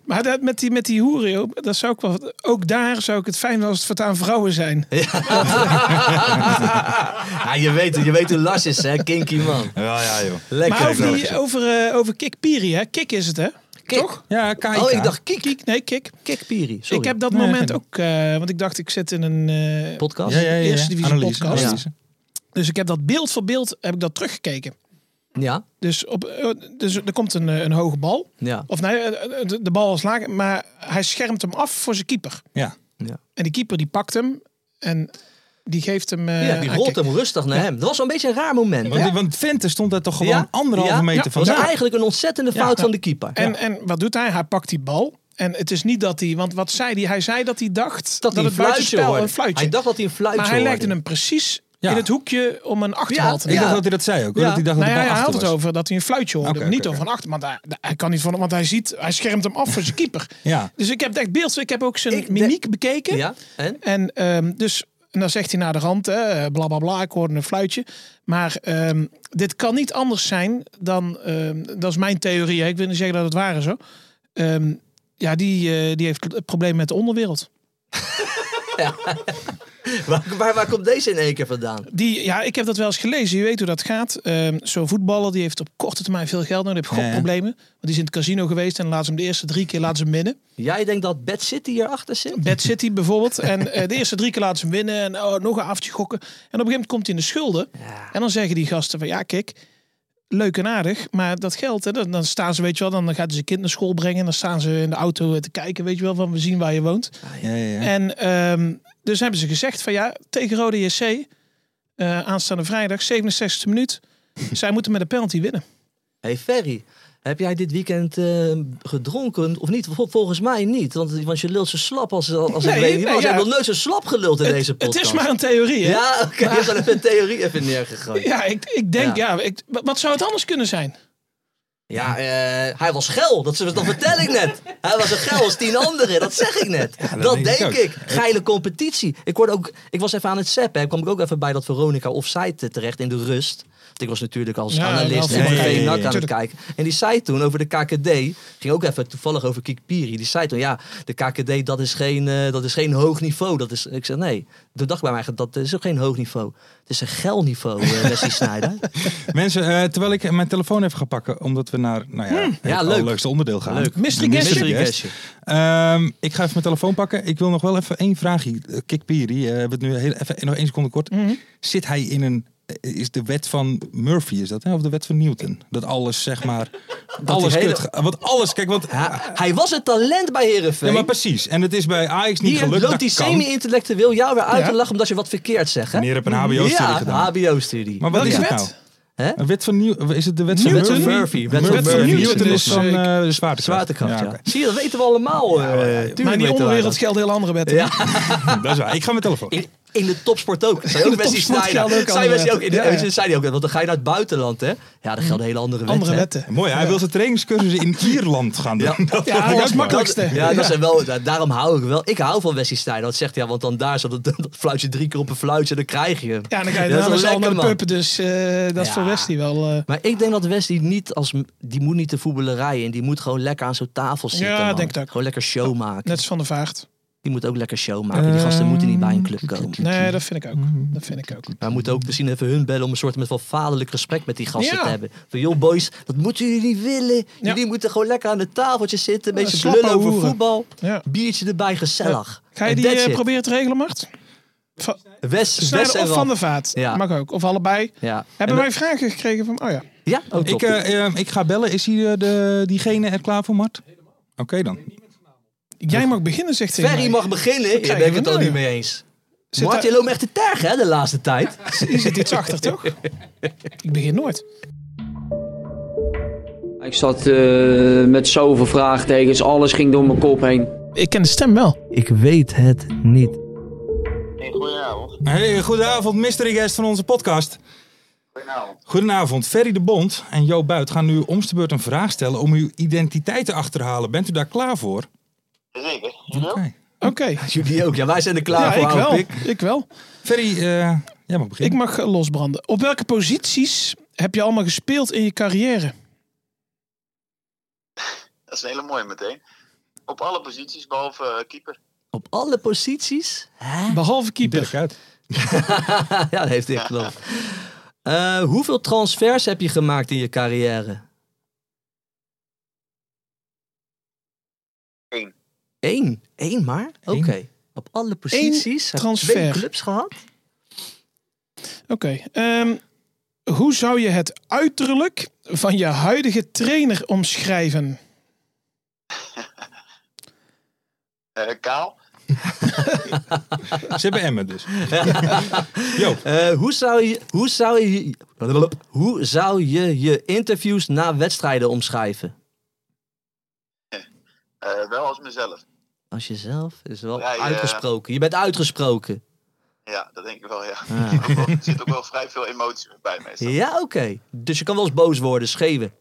[SPEAKER 5] Maar dat, met die, met die hoeren, joh, dat zou ik wel, ook daar zou ik het fijn als het aan vrouwen zijn.
[SPEAKER 6] ja, je weet, het, je weet hoe Lars is, hè? Kinky man.
[SPEAKER 4] Ja, ja, joh.
[SPEAKER 6] Lekker.
[SPEAKER 5] maar over, die,
[SPEAKER 6] Lars.
[SPEAKER 5] over, eh over Kik Piri, hè? Kik is het, hè?
[SPEAKER 6] Kik.
[SPEAKER 5] Toch?
[SPEAKER 4] Ja, kijk.
[SPEAKER 6] Oh, ik dacht kiek.
[SPEAKER 5] Kik, nee, Kik.
[SPEAKER 6] Kikpiri. Sorry.
[SPEAKER 5] Ik heb dat
[SPEAKER 4] Nee,
[SPEAKER 5] moment
[SPEAKER 4] geen-
[SPEAKER 5] ook, eh, want ik dacht, ik zit in een eh,
[SPEAKER 6] podcast.
[SPEAKER 4] Ja, ja, ja. ja.
[SPEAKER 5] Eerste divisie
[SPEAKER 4] Analyse,
[SPEAKER 5] podcast.
[SPEAKER 4] analyse.
[SPEAKER 5] Dus ik heb dat beeld voor beeld heb ik dat teruggekeken.
[SPEAKER 6] Ja.
[SPEAKER 5] Dus, op, eh, dus er komt een, eh, een hoge bal.
[SPEAKER 6] Ja.
[SPEAKER 5] Of nee, eh, eh, de, de bal is laag, maar hij schermt hem af voor zijn keeper.
[SPEAKER 4] Ja.
[SPEAKER 6] Ja.
[SPEAKER 5] En die keeper die pakt hem en die geeft hem... eh,
[SPEAKER 6] Ja, die
[SPEAKER 5] aan
[SPEAKER 6] rolt
[SPEAKER 5] Kik.
[SPEAKER 6] hem rustig naar hem. Dat was wel een beetje een raar moment.
[SPEAKER 4] Want, want Vente stond daar toch gewoon
[SPEAKER 6] Ja?
[SPEAKER 4] anderhalve
[SPEAKER 6] Ja?
[SPEAKER 4] meter
[SPEAKER 5] Ja,
[SPEAKER 6] Dat was
[SPEAKER 4] vandaan.
[SPEAKER 6] eigenlijk een ontzettende fout van de keeper.
[SPEAKER 5] En, en wat doet hij? Hij pakt die bal. En het is niet dat hij, want wat zei hij? Hij zei dat hij dacht
[SPEAKER 6] dat
[SPEAKER 5] dat,
[SPEAKER 6] hij een
[SPEAKER 5] het
[SPEAKER 6] fluitje
[SPEAKER 5] buitenspel
[SPEAKER 6] hoorde.
[SPEAKER 5] een fluitje.
[SPEAKER 6] Hij dacht dat hij een fluitje
[SPEAKER 5] maar hij
[SPEAKER 6] hoorde.
[SPEAKER 5] legde hem precies
[SPEAKER 4] Ja.
[SPEAKER 5] in het hoekje om een achterbal
[SPEAKER 6] Ja,
[SPEAKER 5] te
[SPEAKER 4] Ik
[SPEAKER 5] nemen.
[SPEAKER 4] dacht dat hij dat zei ook. hoor.
[SPEAKER 6] Ja.
[SPEAKER 4] Dat hij dacht
[SPEAKER 5] Nou
[SPEAKER 4] dat
[SPEAKER 5] ja,
[SPEAKER 4] de
[SPEAKER 5] hij
[SPEAKER 4] bal
[SPEAKER 5] had
[SPEAKER 4] achter
[SPEAKER 5] het
[SPEAKER 4] was.
[SPEAKER 5] over dat hij een fluitje hoorde.
[SPEAKER 4] Oké,
[SPEAKER 5] maar niet
[SPEAKER 4] oké,
[SPEAKER 5] over een achter. Want hij, hij kan niet van, want hij ziet, hij schermt hem af voor zijn keeper.
[SPEAKER 4] Ja.
[SPEAKER 5] Dus ik heb echt beeld. Ik heb ook zijn
[SPEAKER 6] Ik denk-
[SPEAKER 5] mimiek bekeken.
[SPEAKER 6] Ja, en?
[SPEAKER 5] En ehm, dus en dan zegt hij naar de rand, hè, bla bla bla, ik hoorde een fluitje. Maar ehm, dit kan niet anders zijn dan, ehm, dat is mijn theorie, hè. ik wil niet zeggen dat het waar is hoor. Ehm, ja, die, eh, die heeft een probleem met de onderwereld.
[SPEAKER 6] Waar, waar, waar komt deze in één keer vandaan?
[SPEAKER 5] Die, ja, ik heb dat wel eens gelezen, je weet hoe dat gaat. Ehm, Zo'n voetballer die heeft op korte termijn veel geld nodig, die heeft
[SPEAKER 4] Ja, ja.
[SPEAKER 5] gokproblemen. Want die is in het casino geweest en laat ze hem de eerste drie keer laten ze hem winnen.
[SPEAKER 6] Jij denkt dat Bad City hierachter zit?
[SPEAKER 5] Bad City bijvoorbeeld. En eh, de eerste drie keer laten ze hem winnen. En oh, nog een avondje gokken. En op een gegeven moment komt hij in de schulden. En dan zeggen die gasten van ja, kijk, leuk en aardig. Maar dat geld, hè, dan, dan staan ze, weet je wel, dan gaat ze zijn kind naar school brengen. Dan staan ze in de auto eh, te kijken, weet je wel, van we zien waar je woont.
[SPEAKER 4] Ja, ja, ja.
[SPEAKER 5] En ehm, dus hebben ze gezegd van ja, tegen Rode JC, eh, aanstaande vrijdag, 67e minuut. zij moeten met een penalty winnen.
[SPEAKER 6] Hey Ferry, heb jij dit weekend eh, gedronken of niet? Vol- Volgens mij niet, want, want je lult zo slap als, als
[SPEAKER 5] Nee,
[SPEAKER 6] ik weet niet
[SPEAKER 5] nee,
[SPEAKER 6] was. Je
[SPEAKER 5] ja.
[SPEAKER 6] hebt nog nooit zo slap geluld in deze
[SPEAKER 5] Het
[SPEAKER 6] podcast.
[SPEAKER 5] is maar een theorie, hè?
[SPEAKER 6] Ja, oké, je hebt wel even een theorie even neergegooid.
[SPEAKER 5] Ja, ik, ik denk, ja, ik, wat zou het anders kunnen zijn?
[SPEAKER 6] Ja, eh, hij was gel, dat, dat vertel ik net. Hij was een gel als tien anderen, dat zeg ik net. dat
[SPEAKER 4] denk
[SPEAKER 6] denk
[SPEAKER 4] ik
[SPEAKER 6] ik.
[SPEAKER 4] ook.
[SPEAKER 6] Geile competitie. Ik, hoorde ook, ik was even aan het zappen, hè. kwam ik ook even bij dat Veronica offside eh, terecht in de rust. Want ik was natuurlijk als
[SPEAKER 5] Ja, wel
[SPEAKER 6] analist en
[SPEAKER 5] voetbal.
[SPEAKER 6] TV
[SPEAKER 4] Ja, ja, ja,
[SPEAKER 6] NAC aan het
[SPEAKER 5] tuurlijk.
[SPEAKER 6] kijken. En die zei toen over de KKD, ging ook even toevallig over Kikpiri. Die zei toen, ja, de KKD dat is geen, eh, dat is geen hoog niveau. Dat is, ik zei, nee. Toen dacht ik bij mij, dat is ook geen hoog niveau. Het is een gel niveau, eh Wesley Sneijder.
[SPEAKER 4] Mensen, eh, terwijl ik mijn telefoon even ga pakken, omdat we naar nou ja, het
[SPEAKER 6] Ja, leuk.
[SPEAKER 4] allerleukste onderdeel gaan.
[SPEAKER 6] Leuk.
[SPEAKER 5] Mystery
[SPEAKER 4] De
[SPEAKER 5] guest.
[SPEAKER 6] Mystery guestje.
[SPEAKER 4] Ehm, ik ga even mijn telefoon pakken. Ik wil nog wel even één vraagje. Eh, Kik Piri, eh, we hebben het nu heel, even, nog één seconde kort.
[SPEAKER 6] Mhm.
[SPEAKER 4] Zit hij in een... eh, Is de wet van Murphy, is dat? Hè? Of de wet van Newton? Dat alles, zeg maar... alles
[SPEAKER 6] hele-
[SPEAKER 4] kut... ge- Want alles, kijk, want...
[SPEAKER 6] Ja, hij was een talent bij Herenveen.
[SPEAKER 4] Ja, maar precies. En het is bij Ajax niet
[SPEAKER 6] Hier
[SPEAKER 4] gelukt.
[SPEAKER 6] loopt die
[SPEAKER 4] Dat kan.
[SPEAKER 6] semi-intellectueel jou weer uit
[SPEAKER 5] Ja.
[SPEAKER 6] te lachen omdat je wat verkeerd zegt. Hè?
[SPEAKER 4] Meneer heeft een HBO-studie
[SPEAKER 6] ja,
[SPEAKER 4] gedaan.
[SPEAKER 6] HBO-studie.
[SPEAKER 4] Maar wat
[SPEAKER 5] Welke
[SPEAKER 4] is het
[SPEAKER 5] wet?
[SPEAKER 4] nou?
[SPEAKER 6] Hè?
[SPEAKER 4] Een wet van Nieuw... Is het de wet van
[SPEAKER 6] Newton?
[SPEAKER 4] Murphy?
[SPEAKER 6] Murphy. Wet van
[SPEAKER 4] Murphy.
[SPEAKER 6] Murphy.
[SPEAKER 4] Newton is
[SPEAKER 5] Dus,
[SPEAKER 4] van
[SPEAKER 5] eh,
[SPEAKER 4] eh, de zwaartekracht.
[SPEAKER 6] Zwaartekracht, ja.
[SPEAKER 4] oké.
[SPEAKER 6] Zie je, dat weten we allemaal. eh, tuurlijk
[SPEAKER 5] Maar in die
[SPEAKER 6] weten wij
[SPEAKER 5] onderwereld
[SPEAKER 6] dat.
[SPEAKER 5] gelden heel andere wetten.
[SPEAKER 6] Ja.
[SPEAKER 4] Dat is waar. Ik ga mijn telefoon.
[SPEAKER 6] In, in de topsport ook. Er zijn ook
[SPEAKER 5] de
[SPEAKER 6] mensen die
[SPEAKER 5] topsport
[SPEAKER 6] snijden.
[SPEAKER 5] gelden ook
[SPEAKER 6] Zijn
[SPEAKER 5] andere
[SPEAKER 6] mensen die ook in de,
[SPEAKER 5] wetten. Ja, ja.
[SPEAKER 6] weet je, zijn die ook, want dan ga je naar het buitenland, hè? Ja, dan gelden hele andere wetten.
[SPEAKER 5] Andere
[SPEAKER 6] hè.
[SPEAKER 5] wetten.
[SPEAKER 4] Mooi, hij wil zijn trainingscursussen in Ierland gaan doen.
[SPEAKER 6] Ja.
[SPEAKER 4] Dat
[SPEAKER 5] Ja,
[SPEAKER 4] vond ik
[SPEAKER 5] dat is
[SPEAKER 4] ook mooi.
[SPEAKER 5] makkelijk. makkelijkste.
[SPEAKER 6] Ja,
[SPEAKER 5] Ja.
[SPEAKER 6] dat zijn wel, da- daarom hou ik wel. Ik hou van Wesley Sneijder. Dat zegt hij, want dan daar zo, dat, dat fluit je drie keer op een fluitje en dan krijg je hem.
[SPEAKER 5] Ja, dan ga je
[SPEAKER 6] Dat is wel
[SPEAKER 5] daarna
[SPEAKER 6] lekker,
[SPEAKER 5] al naar de
[SPEAKER 6] man.
[SPEAKER 5] puppen, dus eh, dat is
[SPEAKER 6] Ja.
[SPEAKER 5] voor Westie wel... eh,
[SPEAKER 6] Maar ik denk dat Wesley niet als... Die moet niet de voetballerij in. Die moet gewoon lekker aan zo'n tafel zitten,
[SPEAKER 5] Ja,
[SPEAKER 6] man.
[SPEAKER 5] denk ik ook.
[SPEAKER 6] Gewoon lekker show maken.
[SPEAKER 5] net als Van de Vaart.
[SPEAKER 6] Die moet ook lekker show maken. Die gasten moeten niet bij een club komen.
[SPEAKER 5] Ehm, Nee, dat vind ik ook.
[SPEAKER 6] Mhm.
[SPEAKER 5] Dat vind ik ook.
[SPEAKER 6] Maar we moeten ook misschien even hun bellen om een soort met wel vaderlijk gesprek met die gasten
[SPEAKER 5] Ja.
[SPEAKER 6] te hebben. Van joh boys, dat moeten jullie niet willen. Jullie moeten gewoon lekker aan het tafeltje zitten. Een
[SPEAKER 5] Ja,
[SPEAKER 6] beetje
[SPEAKER 5] slap
[SPEAKER 6] blullen over
[SPEAKER 5] ouwe.
[SPEAKER 6] voetbal.
[SPEAKER 5] Ja.
[SPEAKER 6] Biertje erbij, gezellig.
[SPEAKER 5] Ga je
[SPEAKER 6] En
[SPEAKER 5] die
[SPEAKER 6] that's
[SPEAKER 5] eh,
[SPEAKER 6] it.
[SPEAKER 5] proberen te regelen, Mart? Va-
[SPEAKER 6] Wes, Wes
[SPEAKER 5] Snijder
[SPEAKER 6] en
[SPEAKER 5] of Van
[SPEAKER 6] Ralf.
[SPEAKER 5] de Vaart?
[SPEAKER 6] Ja.
[SPEAKER 5] Mag ook. Of allebei.
[SPEAKER 6] Ja.
[SPEAKER 5] Hebben
[SPEAKER 6] En-
[SPEAKER 5] wij vragen gekregen van... Oh ja.
[SPEAKER 6] Ja, ook
[SPEAKER 4] Ik,
[SPEAKER 6] top.
[SPEAKER 4] eh, eh, ik ga bellen. Is hier eh, de, diegene er klaar voor, Mart? Oké dan.
[SPEAKER 5] Jij mag beginnen, zegt hij.
[SPEAKER 6] Ferry mag beginnen. Ik
[SPEAKER 5] krijgen
[SPEAKER 6] ben ik
[SPEAKER 5] we
[SPEAKER 6] het al
[SPEAKER 5] nou?
[SPEAKER 6] niet mee eens.
[SPEAKER 5] Zit
[SPEAKER 6] Martje
[SPEAKER 5] daar-
[SPEAKER 6] loopt me echt te tergen hè, de laatste tijd.
[SPEAKER 5] Je zit iets achter, toch? Ik begin nooit.
[SPEAKER 8] Ik zat eh, met zoveel vraagtekens, alles ging door mijn kop heen.
[SPEAKER 5] Ik ken de stem wel.
[SPEAKER 6] Ik weet het niet.
[SPEAKER 4] Hey, goedenavond, mystery guest van onze podcast. Goedenavond. Goedenavond. Ferry de Bond en Jo Buit gaan nu om de beurt een vraag stellen om uw identiteit te achterhalen. Bent u daar klaar voor? Zeker.
[SPEAKER 5] Oké.
[SPEAKER 6] Jullie ook. Ja, wij zijn er klaar
[SPEAKER 5] Ja,
[SPEAKER 6] voor.
[SPEAKER 5] ik
[SPEAKER 6] ouwe
[SPEAKER 5] wel.
[SPEAKER 6] pik.
[SPEAKER 5] Ik wel.
[SPEAKER 4] Ferry, eh, jij mag
[SPEAKER 5] Ik
[SPEAKER 4] beginnen.
[SPEAKER 5] mag eh, losbranden. Op welke posities heb je allemaal gespeeld in je carrière?
[SPEAKER 9] Dat is een hele mooie meteen. Op alle posities, behalve eh, keeper.
[SPEAKER 6] Op alle posities. Hè?
[SPEAKER 5] Behalve
[SPEAKER 4] Dirk
[SPEAKER 5] keeper.
[SPEAKER 4] uit.
[SPEAKER 6] ja, dat heeft hij geloof. Eh, hoeveel transfers heb je gemaakt in je carrière?
[SPEAKER 9] Eén.
[SPEAKER 6] Eén? Eén maar? Oké. Op alle posities. Heb je Twee
[SPEAKER 5] transfer.
[SPEAKER 6] clubs gehad?
[SPEAKER 5] Oké. ehm, hoe zou je het uiterlijk van je huidige trainer omschrijven?
[SPEAKER 9] Eh, kaal.
[SPEAKER 4] Ze hebben Emmen dus. Jo,
[SPEAKER 6] Eh, hoe, zou je, hoe, zou je, hoe zou je je interviews na wedstrijden omschrijven?
[SPEAKER 9] Eh, wel als mezelf.
[SPEAKER 6] Als jezelf is wel
[SPEAKER 9] Ja, ja.
[SPEAKER 6] uitgesproken. Je bent uitgesproken.
[SPEAKER 9] Ja, dat denk ik wel, ja.
[SPEAKER 6] Ah.
[SPEAKER 9] Ook wel- er zit ook wel vrij veel emotie bij meestal.
[SPEAKER 6] Ja, oké. Dus je kan wel eens boos worden, scheven.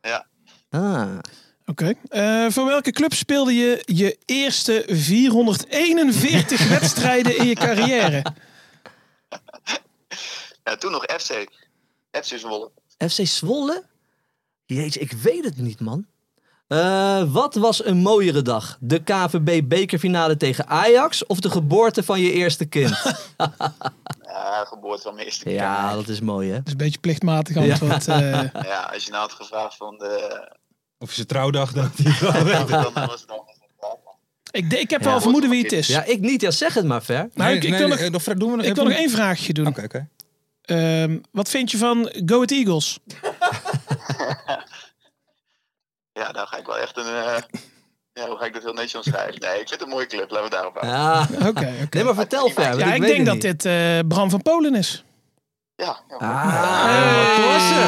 [SPEAKER 9] Ja.
[SPEAKER 6] Ah.
[SPEAKER 5] Oké. Eh, voor welke club speelde je je eerste 441 wedstrijden in je carrière?
[SPEAKER 9] Ja, toen nog FC. FC Zwolle.
[SPEAKER 6] FC Zwolle? Jeetje, ik weet het niet, man. Eh, wat was een mooiere dag? De KVB bekerfinale tegen Ajax of de geboorte van je eerste kind?
[SPEAKER 9] Ja, geboorte van mijn eerste keer.
[SPEAKER 6] ja, dat is mooi, hè?
[SPEAKER 5] Dat is een beetje plichtmatig antwoord. eh.
[SPEAKER 9] Ja, als je nou had gevraagd van de...
[SPEAKER 4] of is het trouwdag dat die
[SPEAKER 9] dan was het anders.
[SPEAKER 5] ik, de- ik heb wel vermoeden wie het is.
[SPEAKER 6] Ja, ik niet. Ja, zeg het maar, Ver.
[SPEAKER 5] Nou, ik, ik wil nog,
[SPEAKER 4] eh, dat vra- doen we nog
[SPEAKER 5] ik wil
[SPEAKER 4] even.
[SPEAKER 5] nog één vraagje doen.
[SPEAKER 4] Oké, oké.
[SPEAKER 5] Ehm, wat vind je van Go It Eagles?
[SPEAKER 9] Ja, dan ga ik wel echt een... eh, Ja, hoe ga ik dat heel netjes omschrijven? Nee, ik vind het een mooie club. Laten we het daarop houden.
[SPEAKER 6] Ja.
[SPEAKER 5] Oké. oké.
[SPEAKER 6] Nee, maar vertel, Ver. want
[SPEAKER 5] Ja, ik,
[SPEAKER 6] weet het
[SPEAKER 5] denk dat
[SPEAKER 6] niet.
[SPEAKER 5] dit eh, Bram van Polen is.
[SPEAKER 9] Ja, ja.
[SPEAKER 6] Ah, wat was er?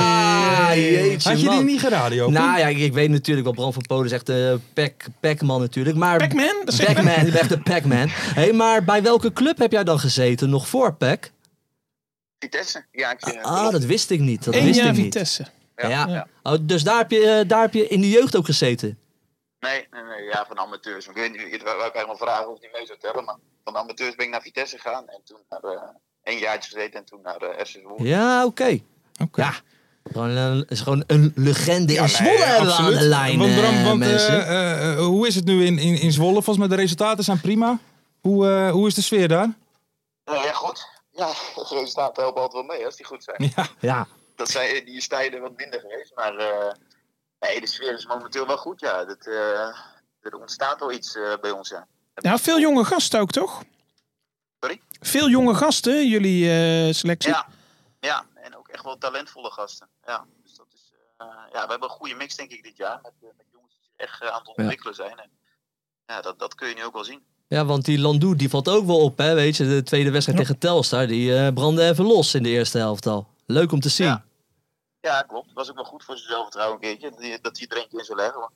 [SPEAKER 6] Ah, jeetje,
[SPEAKER 4] Had je die
[SPEAKER 6] man.
[SPEAKER 4] niet geradio?
[SPEAKER 6] Nou ja, ik, ik weet natuurlijk wel, Bram van Polen is echt eh, Pac- Pac-Man natuurlijk. Maar
[SPEAKER 5] Pac-Man? Dat zeg ik
[SPEAKER 6] Pac-Man, ik ben echt een Pac-Man. hey, maar bij welke club heb jij dan gezeten nog voor Pac?
[SPEAKER 9] Vitesse. Ja, ik vind
[SPEAKER 6] Ah, dat wist ik niet. Dat
[SPEAKER 5] Eén
[SPEAKER 6] wist
[SPEAKER 5] jaar
[SPEAKER 6] ik niet.
[SPEAKER 5] Vitesse.
[SPEAKER 6] Ja. Oh, dus daar heb, je, eh, daar heb je in de jeugd ook gezeten.
[SPEAKER 9] Nee, nee, nee, ja, van amateurs. Ik weet niet, ik wou eigenlijk wel vragen of die mee zou tellen, maar van amateurs ben ik naar Vitesse gegaan en toen naar eh een jaartje gezeten en toen naar eh FC Zwolle.
[SPEAKER 6] Ja, oké.
[SPEAKER 4] Oké.
[SPEAKER 6] Ja. Gewoon, eh, is gewoon een legende in Zwolle
[SPEAKER 4] Nee,
[SPEAKER 6] hebben we aan
[SPEAKER 4] absoluut.
[SPEAKER 6] de lijn,
[SPEAKER 4] Want, Bram,
[SPEAKER 6] eh,
[SPEAKER 4] want, eh,
[SPEAKER 6] mensen.
[SPEAKER 4] eh, eh, hoe is het nu in, in, in Zwolle? Volgens mij de resultaten zijn prima. Hoe, eh, hoe is de sfeer daar?
[SPEAKER 9] Ja, ja goed. Ja, de resultaten helpen altijd wel mee als die goed zijn.
[SPEAKER 4] Ja.
[SPEAKER 6] ja.
[SPEAKER 9] Dat zijn eh, die is tijden wat minder geweest, maar eh, nee, de sfeer is momenteel wel goed, ja. Dat, eh, er ontstaat wel iets eh, bij ons, ja.
[SPEAKER 5] Ja, veel jonge gasten ook, toch?
[SPEAKER 9] Sorry?
[SPEAKER 5] Veel jonge gasten, jullie eh, selectie.
[SPEAKER 9] Ja, ja, en ook echt wel talentvolle gasten. Ja, dus dat is, eh, ja we hebben een goede mix denk ik dit jaar met, eh, met jongens die zich echt eh, aan het ontwikkelen zijn. En, ja, dat, dat kun je nu ook wel zien.
[SPEAKER 6] ja, want die Landoe die valt ook wel op, hè, weet je. De tweede wedstrijd tegen Telstar, die eh, brandde even los in de eerste helft al. Leuk om te zien.
[SPEAKER 9] Ja, klopt. Was ook wel goed voor zijn zelfvertrouwen een keertje. die- Dat hij er eentje in zou leggen. hoor.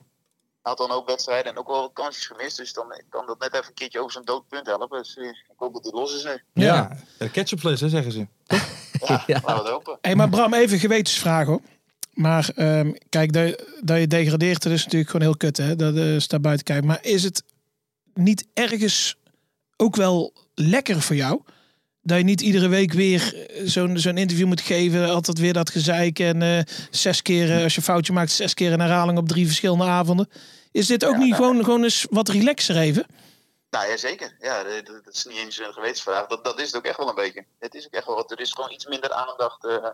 [SPEAKER 9] had dan ook wedstrijden en ook wel wat kansjes gemist. Dus dan kan dat net even een keertje over zo'n doodpunt helpen. Dus eh, ik hoop dat die los is. hè.
[SPEAKER 4] Ja, ja. ketchupfles, hè, zeggen ze.
[SPEAKER 9] Ja, laten we het hopen.
[SPEAKER 5] Hey, maar Bram, even gewetensvraag hoor. Maar ehm, kijk, dat, dat je degradeert, dat is natuurlijk gewoon heel kut, hè? Dat eh, staat buiten kijf. Maar is het niet ergens ook wel lekker voor jou? Dat je niet iedere week weer eh, zo'n zo'n interview moet geven. Altijd weer dat gezeik. En eh, zes keer, eh, als je een foutje maakt, zes keer een herhaling op drie verschillende avonden. Is dit ook niet
[SPEAKER 9] eh,
[SPEAKER 5] gewoon, gewoon eens wat relaxer even?
[SPEAKER 9] Nou ja, zeker. Ja, eh, dat, dat is niet eens een gewetensvraag. Dat, dat is het ook echt wel een beetje. Het is ook echt wel wat. Er is gewoon iets minder aandacht. eh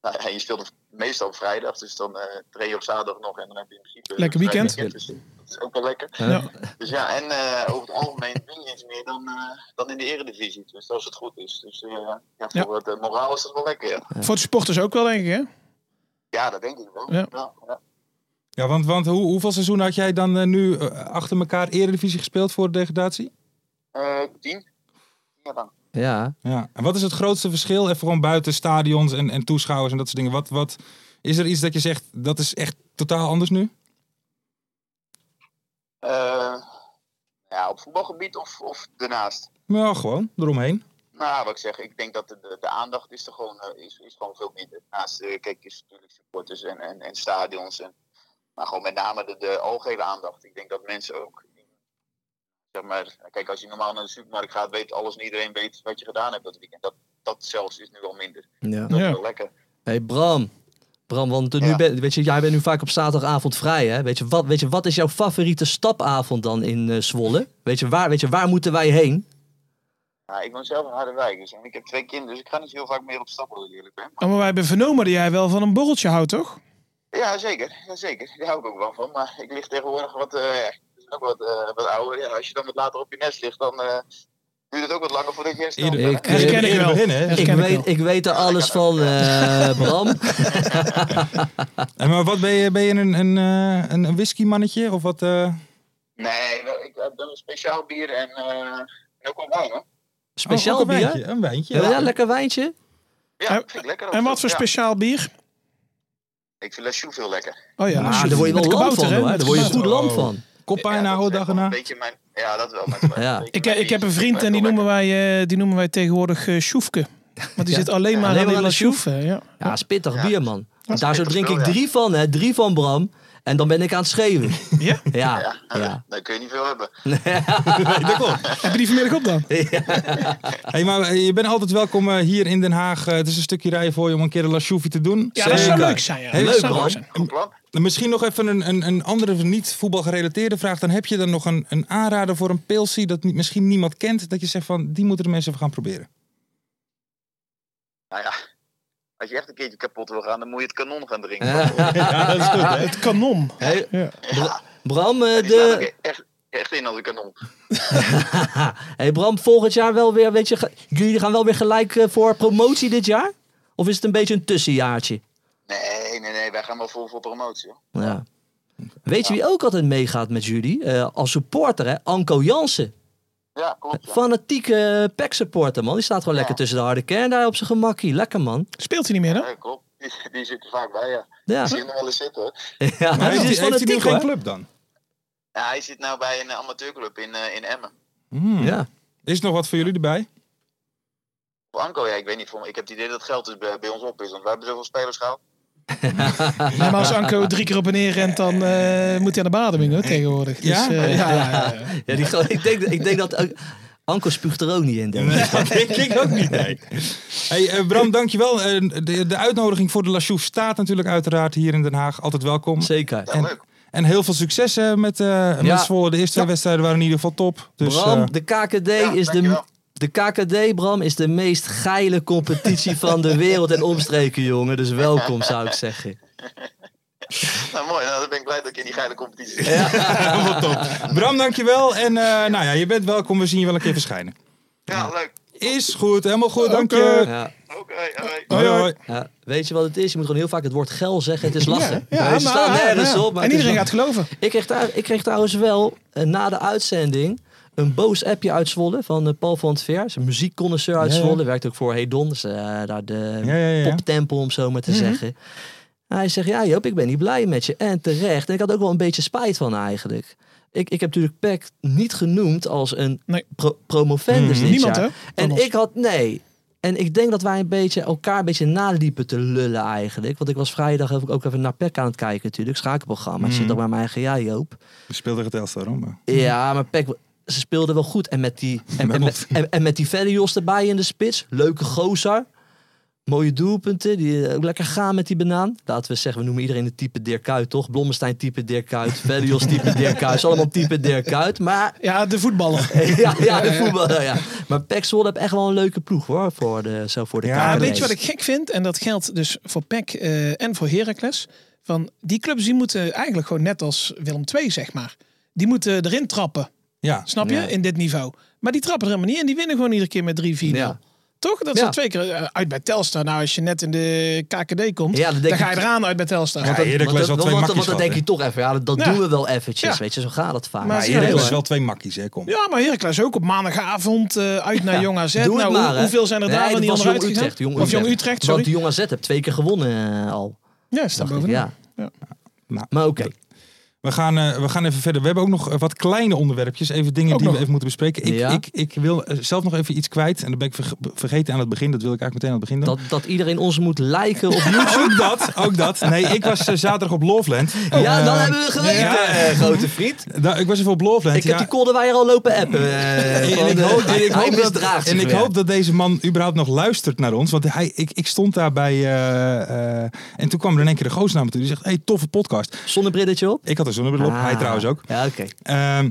[SPEAKER 9] nou, ja, je speelt op- meestal op vrijdag, dus dan eh train je op zaterdag nog en dan heb je in principe... een
[SPEAKER 5] Lekker
[SPEAKER 9] vrij
[SPEAKER 5] weekend.
[SPEAKER 9] dus dat is ook wel lekker.
[SPEAKER 5] Ja.
[SPEAKER 9] Dus ja, en eh, over het algemeen win je iets meer dan, eh, dan in de eredivisie. Dus als het goed is. Dus eh, ja,
[SPEAKER 5] Ja.
[SPEAKER 9] voor het eh, moraal is dat wel lekker, ja.
[SPEAKER 5] Voor de sporters ook wel, denk ik, hè?
[SPEAKER 9] Ja, dat denk ik wel.
[SPEAKER 5] Ja.
[SPEAKER 9] Ja, ja.
[SPEAKER 4] Ja, want, want hoe, hoeveel seizoen had jij dan eh, nu eh, achter elkaar Eredivisie gespeeld voor de degradatie?
[SPEAKER 9] Eh, tien? Ja, dan.
[SPEAKER 6] Ja.
[SPEAKER 4] ja. En wat is het grootste verschil? Even gewoon buiten stadions en, en toeschouwers en dat soort dingen. Wat, wat, is er iets dat je zegt, dat is echt totaal anders nu?
[SPEAKER 9] Eh, ja, op voetbalgebied of, of daarnaast?
[SPEAKER 4] Nou, gewoon, eromheen.
[SPEAKER 9] Nou, wat ik zeg, ik denk dat de, de, de aandacht is er gewoon, eh, is, is gewoon veel minder. Naast, eh, kijk, is natuurlijk supporters en, en, en stadions. En, maar gewoon met name de, de algehele aandacht. Ik denk dat mensen ook, zeg maar, kijk, als je normaal naar de supermarkt gaat, weet alles en iedereen weet wat je gedaan hebt dat weekend. Dat, dat zelfs is nu al minder.
[SPEAKER 6] Ja.
[SPEAKER 9] Dat is wel lekker.
[SPEAKER 6] Hey Bram. Bram, want eh, nu ben, weet je, jij bent nu vaak op zaterdagavond vrij, hè? Weet je, wat, weet je, wat is jouw favoriete stapavond dan in eh, Zwolle? Weet je, waar, weet je, waar moeten wij heen?
[SPEAKER 9] Ja, ik woon zelf in Harderwijk, dus en ik heb twee kinderen, dus ik ga niet heel vaak meer op stap, als ik eerlijk ben.
[SPEAKER 5] Nou, maar wij hebben vernomen dat jij wel van een borreltje houdt, toch?
[SPEAKER 9] Ja, zeker. Ja, zeker. Daar hou ik ook wel van. Maar ik lig tegenwoordig wat, eh, ik ben ook wat, eh, wat ouder. Ja, als je dan wat later op je nest ligt, dan eh, duurt het ook wat langer voordat je herstelt.
[SPEAKER 6] Ik,
[SPEAKER 9] hè?
[SPEAKER 6] eh, Ik, weet, ik weet er alles van, eh, Bram.
[SPEAKER 4] En maar wat ben je, ben je een, een, eh, een, een whiskymannetje of wat? eh?
[SPEAKER 9] Nee, wel, ik heb dan een speciaal bier en, eh, en ook wel wijn, hoor.
[SPEAKER 6] Speciaal
[SPEAKER 4] Oh, ook een
[SPEAKER 6] bier?
[SPEAKER 4] wijntje, een wijntje.
[SPEAKER 6] Ja, lekker wijntje.
[SPEAKER 9] Ja, vind ik lekker.
[SPEAKER 5] En wat voor
[SPEAKER 9] Ja.
[SPEAKER 5] speciaal bier?
[SPEAKER 9] Ik vind Lachoux veel lekker.
[SPEAKER 5] Oh ja,
[SPEAKER 6] Nou,
[SPEAKER 5] shoot.
[SPEAKER 6] daar word je wel
[SPEAKER 5] Met
[SPEAKER 6] lam
[SPEAKER 5] kabouter,
[SPEAKER 6] van,
[SPEAKER 5] hè?
[SPEAKER 6] hoor.
[SPEAKER 5] Met
[SPEAKER 6] Daar word je
[SPEAKER 5] kabouter.
[SPEAKER 6] goed lam van.
[SPEAKER 4] Koppijn
[SPEAKER 9] ja,
[SPEAKER 4] dag en nacht.
[SPEAKER 9] Beetje mijn... Ja, dat wel. Maar
[SPEAKER 6] Ja.
[SPEAKER 5] Ik, eh, ik heb een vriend en die noemen wij, eh, die noemen wij tegenwoordig eh Sjoefke. Want die
[SPEAKER 6] Ja.
[SPEAKER 5] zit alleen maar
[SPEAKER 6] Alleen
[SPEAKER 5] aan
[SPEAKER 6] maar
[SPEAKER 5] die
[SPEAKER 6] aan de
[SPEAKER 5] Lasjoef. Ja.
[SPEAKER 6] Ja, is pittig bier, man. Daar zo
[SPEAKER 9] pittig
[SPEAKER 6] drink
[SPEAKER 9] spul,
[SPEAKER 6] ik
[SPEAKER 9] ja.
[SPEAKER 6] drie van, hè. Drie van Bram. En dan ben ik aan het schreeuwen.
[SPEAKER 5] Ja?
[SPEAKER 6] Ja, ja.
[SPEAKER 9] eh,
[SPEAKER 6] Hm.
[SPEAKER 9] Daar kun je niet veel hebben.
[SPEAKER 5] Heb je die vanmiddag op dan?
[SPEAKER 4] Hey, maar eh, je bent altijd welkom eh, hier in Den Haag. Eh, het is een stukje rijden voor je om een keer een lasjoufie te doen.
[SPEAKER 5] Ja, dat zou
[SPEAKER 4] Zeker.
[SPEAKER 5] leuk zijn. Ja.
[SPEAKER 4] Hey,
[SPEAKER 5] dat
[SPEAKER 4] leuk,
[SPEAKER 5] zou
[SPEAKER 4] man.
[SPEAKER 5] leuk zijn.
[SPEAKER 9] Goed plan.
[SPEAKER 4] Misschien nog even een, een, een andere niet voetbalgerelateerde vraag. Dan heb je dan nog een, een aanrader voor een pilsie dat niet, misschien niemand kent. Dat je zegt van, die moeten de mensen even gaan proberen.
[SPEAKER 9] Nou ja, als je echt een keertje kapot wil gaan, dan moet je het kanon gaan drinken.
[SPEAKER 4] Ja, dat is goed hè.
[SPEAKER 5] Het kanon.
[SPEAKER 6] Hey,
[SPEAKER 5] Ja.
[SPEAKER 6] Bra- Bram, eh,
[SPEAKER 9] Die staat
[SPEAKER 6] de...
[SPEAKER 9] ook echt, echt in als een kanon.
[SPEAKER 6] hey Bram, volgend jaar wel weer, weet je, ge- jullie gaan wel weer gelijk eh, voor promotie dit jaar? Of is het een beetje een tussenjaartje?
[SPEAKER 9] Nee, nee, nee, wij gaan wel vol voor promotie. hoor.
[SPEAKER 6] Ja. Weet je wie ook altijd meegaat met jullie? Eh, als supporter, hè? Anko Jansen.
[SPEAKER 9] Ja, klopt. Ja.
[SPEAKER 6] Fanatieke pack supporter, man. Die staat gewoon lekker tussen de harde kern daar op zijn gemakkie. Lekker, man.
[SPEAKER 5] Speelt hij niet meer, hè?
[SPEAKER 9] Ja, klopt. Die, die zit er vaak bij, ja.
[SPEAKER 6] Ja,
[SPEAKER 9] Die zie je nog wel eens zitten, hoor.
[SPEAKER 6] ja
[SPEAKER 4] Maar
[SPEAKER 6] die
[SPEAKER 4] heeft,
[SPEAKER 6] is
[SPEAKER 4] hij- heeft hij nu
[SPEAKER 6] fanatiek,
[SPEAKER 4] geen
[SPEAKER 6] hoor.
[SPEAKER 4] club dan?
[SPEAKER 9] Ja, hij zit nou bij een eh, amateurclub in, eh, in Emmen.
[SPEAKER 4] Hmm.
[SPEAKER 6] Ja.
[SPEAKER 4] Is er nog wat voor jullie erbij?
[SPEAKER 9] Voor Anko, ja, ik weet niet, voor, ik heb het idee dat het geld dus bij, bij ons op is, want we hebben zoveel spelers gehad.
[SPEAKER 5] Ja, maar als Anko drie keer op en neer rent, dan eh, moet hij aan de bademing hoor, tegenwoordig. Dus,
[SPEAKER 4] Ja?
[SPEAKER 5] eh, ja, ja, ja.
[SPEAKER 6] Ja, die, gewoon- ik, denk, ik denk dat... ook- Anko spuugt er ook niet in, denk ik.
[SPEAKER 4] dat denk ik ook niet. Nee. Hey, eh, Bram, dankjewel. Eh, de, de uitnodiging voor de Lachouf staat natuurlijk uiteraard hier in Den Haag. Altijd welkom.
[SPEAKER 6] Zeker.
[SPEAKER 9] Ja,
[SPEAKER 4] En-
[SPEAKER 9] leuk.
[SPEAKER 4] En heel veel succes eh, met, eh met Zwolle. De eerste twee wedstrijden waren in ieder geval top. Dus,
[SPEAKER 6] Bram,
[SPEAKER 4] eh,
[SPEAKER 6] de KKD
[SPEAKER 9] Ja,
[SPEAKER 6] is de...
[SPEAKER 9] dankjewel.
[SPEAKER 6] De KKD, Bram, is de meest geile competitie van de wereld en omstreken, jongen. Dus welkom, zou ik zeggen.
[SPEAKER 9] Nou, mooi. Nou, dan ben ik blij dat ik in die geile competitie zit.
[SPEAKER 4] helemaal top. Bram, dankjewel. En eh, nou ja, je bent welkom. We zien je wel een keer verschijnen.
[SPEAKER 9] Ja, leuk.
[SPEAKER 4] Is goed, helemaal goed. Dank
[SPEAKER 9] Eh.
[SPEAKER 4] je.
[SPEAKER 6] Ja.
[SPEAKER 9] Oké, hoi.
[SPEAKER 4] Hoi, hoi.
[SPEAKER 6] Ja, weet je wat het is? Je moet gewoon heel vaak het woord geil zeggen. Het is lastig.
[SPEAKER 5] Ja,
[SPEAKER 6] Ja,
[SPEAKER 5] maar-
[SPEAKER 6] staat nergens
[SPEAKER 5] ja.
[SPEAKER 6] op. maar
[SPEAKER 5] En
[SPEAKER 6] het is wel-
[SPEAKER 5] iedereen gaat geloven.
[SPEAKER 6] Ik kreeg, daar, ik kreeg trouwens wel eh, na de uitzending een boos appje uit Zwolle van eh, Paul van het Ver. Is een muziekconnoisseur uit
[SPEAKER 4] Ja, ja.
[SPEAKER 6] Zwolle. Werkt ook voor Hedon. Dus eh, daar de
[SPEAKER 4] Ja, ja, ja.
[SPEAKER 5] Mhm.
[SPEAKER 6] poptempel, om zo maar te zeggen. Hij zegt, ja Joop, ik ben niet blij met je. En terecht. En ik had ook wel een beetje spijt van eigenlijk. Ik, ik heb natuurlijk PEC niet genoemd als een pro- promovendus
[SPEAKER 5] Mm,
[SPEAKER 6] dit
[SPEAKER 5] niemand,
[SPEAKER 6] jaar.
[SPEAKER 5] hè, van
[SPEAKER 6] En
[SPEAKER 5] ons.
[SPEAKER 6] ik had, nee. En ik denk dat wij een beetje elkaar een beetje naliepen te lullen eigenlijk. Want ik was vrijdag ook ook even naar PEC aan het kijken natuurlijk. Schakelprogramma. Ik
[SPEAKER 5] Mhm.
[SPEAKER 6] zit
[SPEAKER 4] Mm.
[SPEAKER 6] dan bij mijn eigen, ja Joop.
[SPEAKER 4] Je speelde tegen Telstar, hoor, maar...
[SPEAKER 6] Ja, maar Peck, ze speelden wel goed. En met die, en, en, met, en, en met die Verrios erbij in de spits. Leuke gozer. Mooie doelpunten. Die eh, ook lekker gaan met die banaan. Laten we zeggen, we noemen iedereen het type Dirk Kuyt, toch? Blommestein type Dirk Kuyt. Verrios type Dirk Kuyt. is Allemaal type Dirk Kuyt. Maar...
[SPEAKER 5] Ja, de voetballer.
[SPEAKER 6] ja, ja, de voetballer, ja. Maar Pek Zwolle heeft echt wel een leuke ploeg, hoor. Voor de, zo voor de
[SPEAKER 5] Ja,
[SPEAKER 6] KKD.
[SPEAKER 5] Eh, weet je wat ik gek vind? En dat geldt dus voor PEC eh, en voor Heracles. Van die clubs die moeten eigenlijk gewoon net als Willem II, zeg maar. Die moeten erin trappen.
[SPEAKER 4] Ja.
[SPEAKER 5] Snap je?
[SPEAKER 6] Ja.
[SPEAKER 5] In dit niveau. Maar die trappen er helemaal niet in. Die winnen gewoon iedere keer met 3-4.
[SPEAKER 6] Ja.
[SPEAKER 5] Toch? Dat
[SPEAKER 6] Ja.
[SPEAKER 5] zijn twee keer eh, uit bij Telstar. Nou, als je net in de KKD komt,
[SPEAKER 6] Ja, dan
[SPEAKER 5] dan,
[SPEAKER 6] denk
[SPEAKER 5] ga
[SPEAKER 6] ik-
[SPEAKER 5] je eraan uit bij Telstar.
[SPEAKER 4] Want dat- Heracles
[SPEAKER 6] Want dat-
[SPEAKER 4] wel twee
[SPEAKER 6] want-
[SPEAKER 4] makkies
[SPEAKER 6] Want dan
[SPEAKER 4] gehad,
[SPEAKER 6] denk
[SPEAKER 4] hè?
[SPEAKER 6] je toch even, ja, dat, dat
[SPEAKER 5] Ja.
[SPEAKER 6] doen we wel eventjes.
[SPEAKER 5] Ja.
[SPEAKER 6] Weet je, zo gaat dat vaak.
[SPEAKER 5] Maar
[SPEAKER 4] Maar
[SPEAKER 5] zie
[SPEAKER 4] hier
[SPEAKER 5] je
[SPEAKER 4] hebben ze
[SPEAKER 5] wel, hè?
[SPEAKER 4] wel twee makkies, hè, kom.
[SPEAKER 5] Ja, maar Heracles ook op maandagavond eh, uit naar
[SPEAKER 6] Ja,
[SPEAKER 5] Jong AZ.
[SPEAKER 6] doe het
[SPEAKER 5] Nou, hoe-
[SPEAKER 6] maar, hè.
[SPEAKER 5] hoeveel zijn er
[SPEAKER 6] Nee,
[SPEAKER 5] daar
[SPEAKER 6] dat
[SPEAKER 5] van die
[SPEAKER 6] was
[SPEAKER 5] onderuit
[SPEAKER 6] Jong
[SPEAKER 5] gegaan?
[SPEAKER 6] Utrecht, Jong
[SPEAKER 5] Of Jong
[SPEAKER 6] Utrecht.
[SPEAKER 5] Utrecht,
[SPEAKER 6] Want
[SPEAKER 5] sorry.
[SPEAKER 6] Jong AZ heeft twee keer gewonnen eh, al.
[SPEAKER 5] Ja, staat
[SPEAKER 6] Dacht ik,
[SPEAKER 5] bovenaan.
[SPEAKER 6] ja.
[SPEAKER 5] Ja.
[SPEAKER 4] Nou,
[SPEAKER 6] Maar oké.
[SPEAKER 4] we gaan, eh, we gaan even verder. We hebben ook nog eh, wat kleine onderwerpjes. Even dingen
[SPEAKER 5] Ook
[SPEAKER 4] die
[SPEAKER 5] nog.
[SPEAKER 4] we even moeten bespreken. Ik,
[SPEAKER 6] Ja.
[SPEAKER 4] ik, ik wil eh, zelf nog even iets kwijt. En dat ben ik verge- vergeten aan het begin. Dat wil ik eigenlijk meteen aan het begin doen.
[SPEAKER 6] Dat, dat iedereen ons moet liken op YouTube.
[SPEAKER 4] Ook dat, ook dat. Nee, ik was eh, zaterdag op Loveland.
[SPEAKER 5] Oh.
[SPEAKER 6] Oh. ja,
[SPEAKER 4] Eh,
[SPEAKER 6] dan hebben we geweten,
[SPEAKER 4] ja.
[SPEAKER 6] eh, grote vriend.
[SPEAKER 4] nou, ik was even op Loveland.
[SPEAKER 6] Ik
[SPEAKER 4] ja.
[SPEAKER 6] heb die kolderweier al lopen appen.
[SPEAKER 4] En
[SPEAKER 6] eh, van,
[SPEAKER 4] ik
[SPEAKER 6] eh,
[SPEAKER 4] hoop- en ik
[SPEAKER 6] hij
[SPEAKER 4] hoop dat-
[SPEAKER 6] misdraagt
[SPEAKER 4] en
[SPEAKER 6] zich
[SPEAKER 4] ik
[SPEAKER 6] weer.
[SPEAKER 4] hoop dat deze man überhaupt nog luistert naar ons. Want hij, ik, ik stond daar bij... eh, eh, en toen kwam er in één keer de goos naar me toe. Die zegt, hey, toffe podcast.
[SPEAKER 6] Zonnebrilletje op.
[SPEAKER 4] Ik had een zonnebril op. Hij
[SPEAKER 6] Ah.
[SPEAKER 4] trouwens ook.
[SPEAKER 6] Ja, oké.
[SPEAKER 4] Ehm,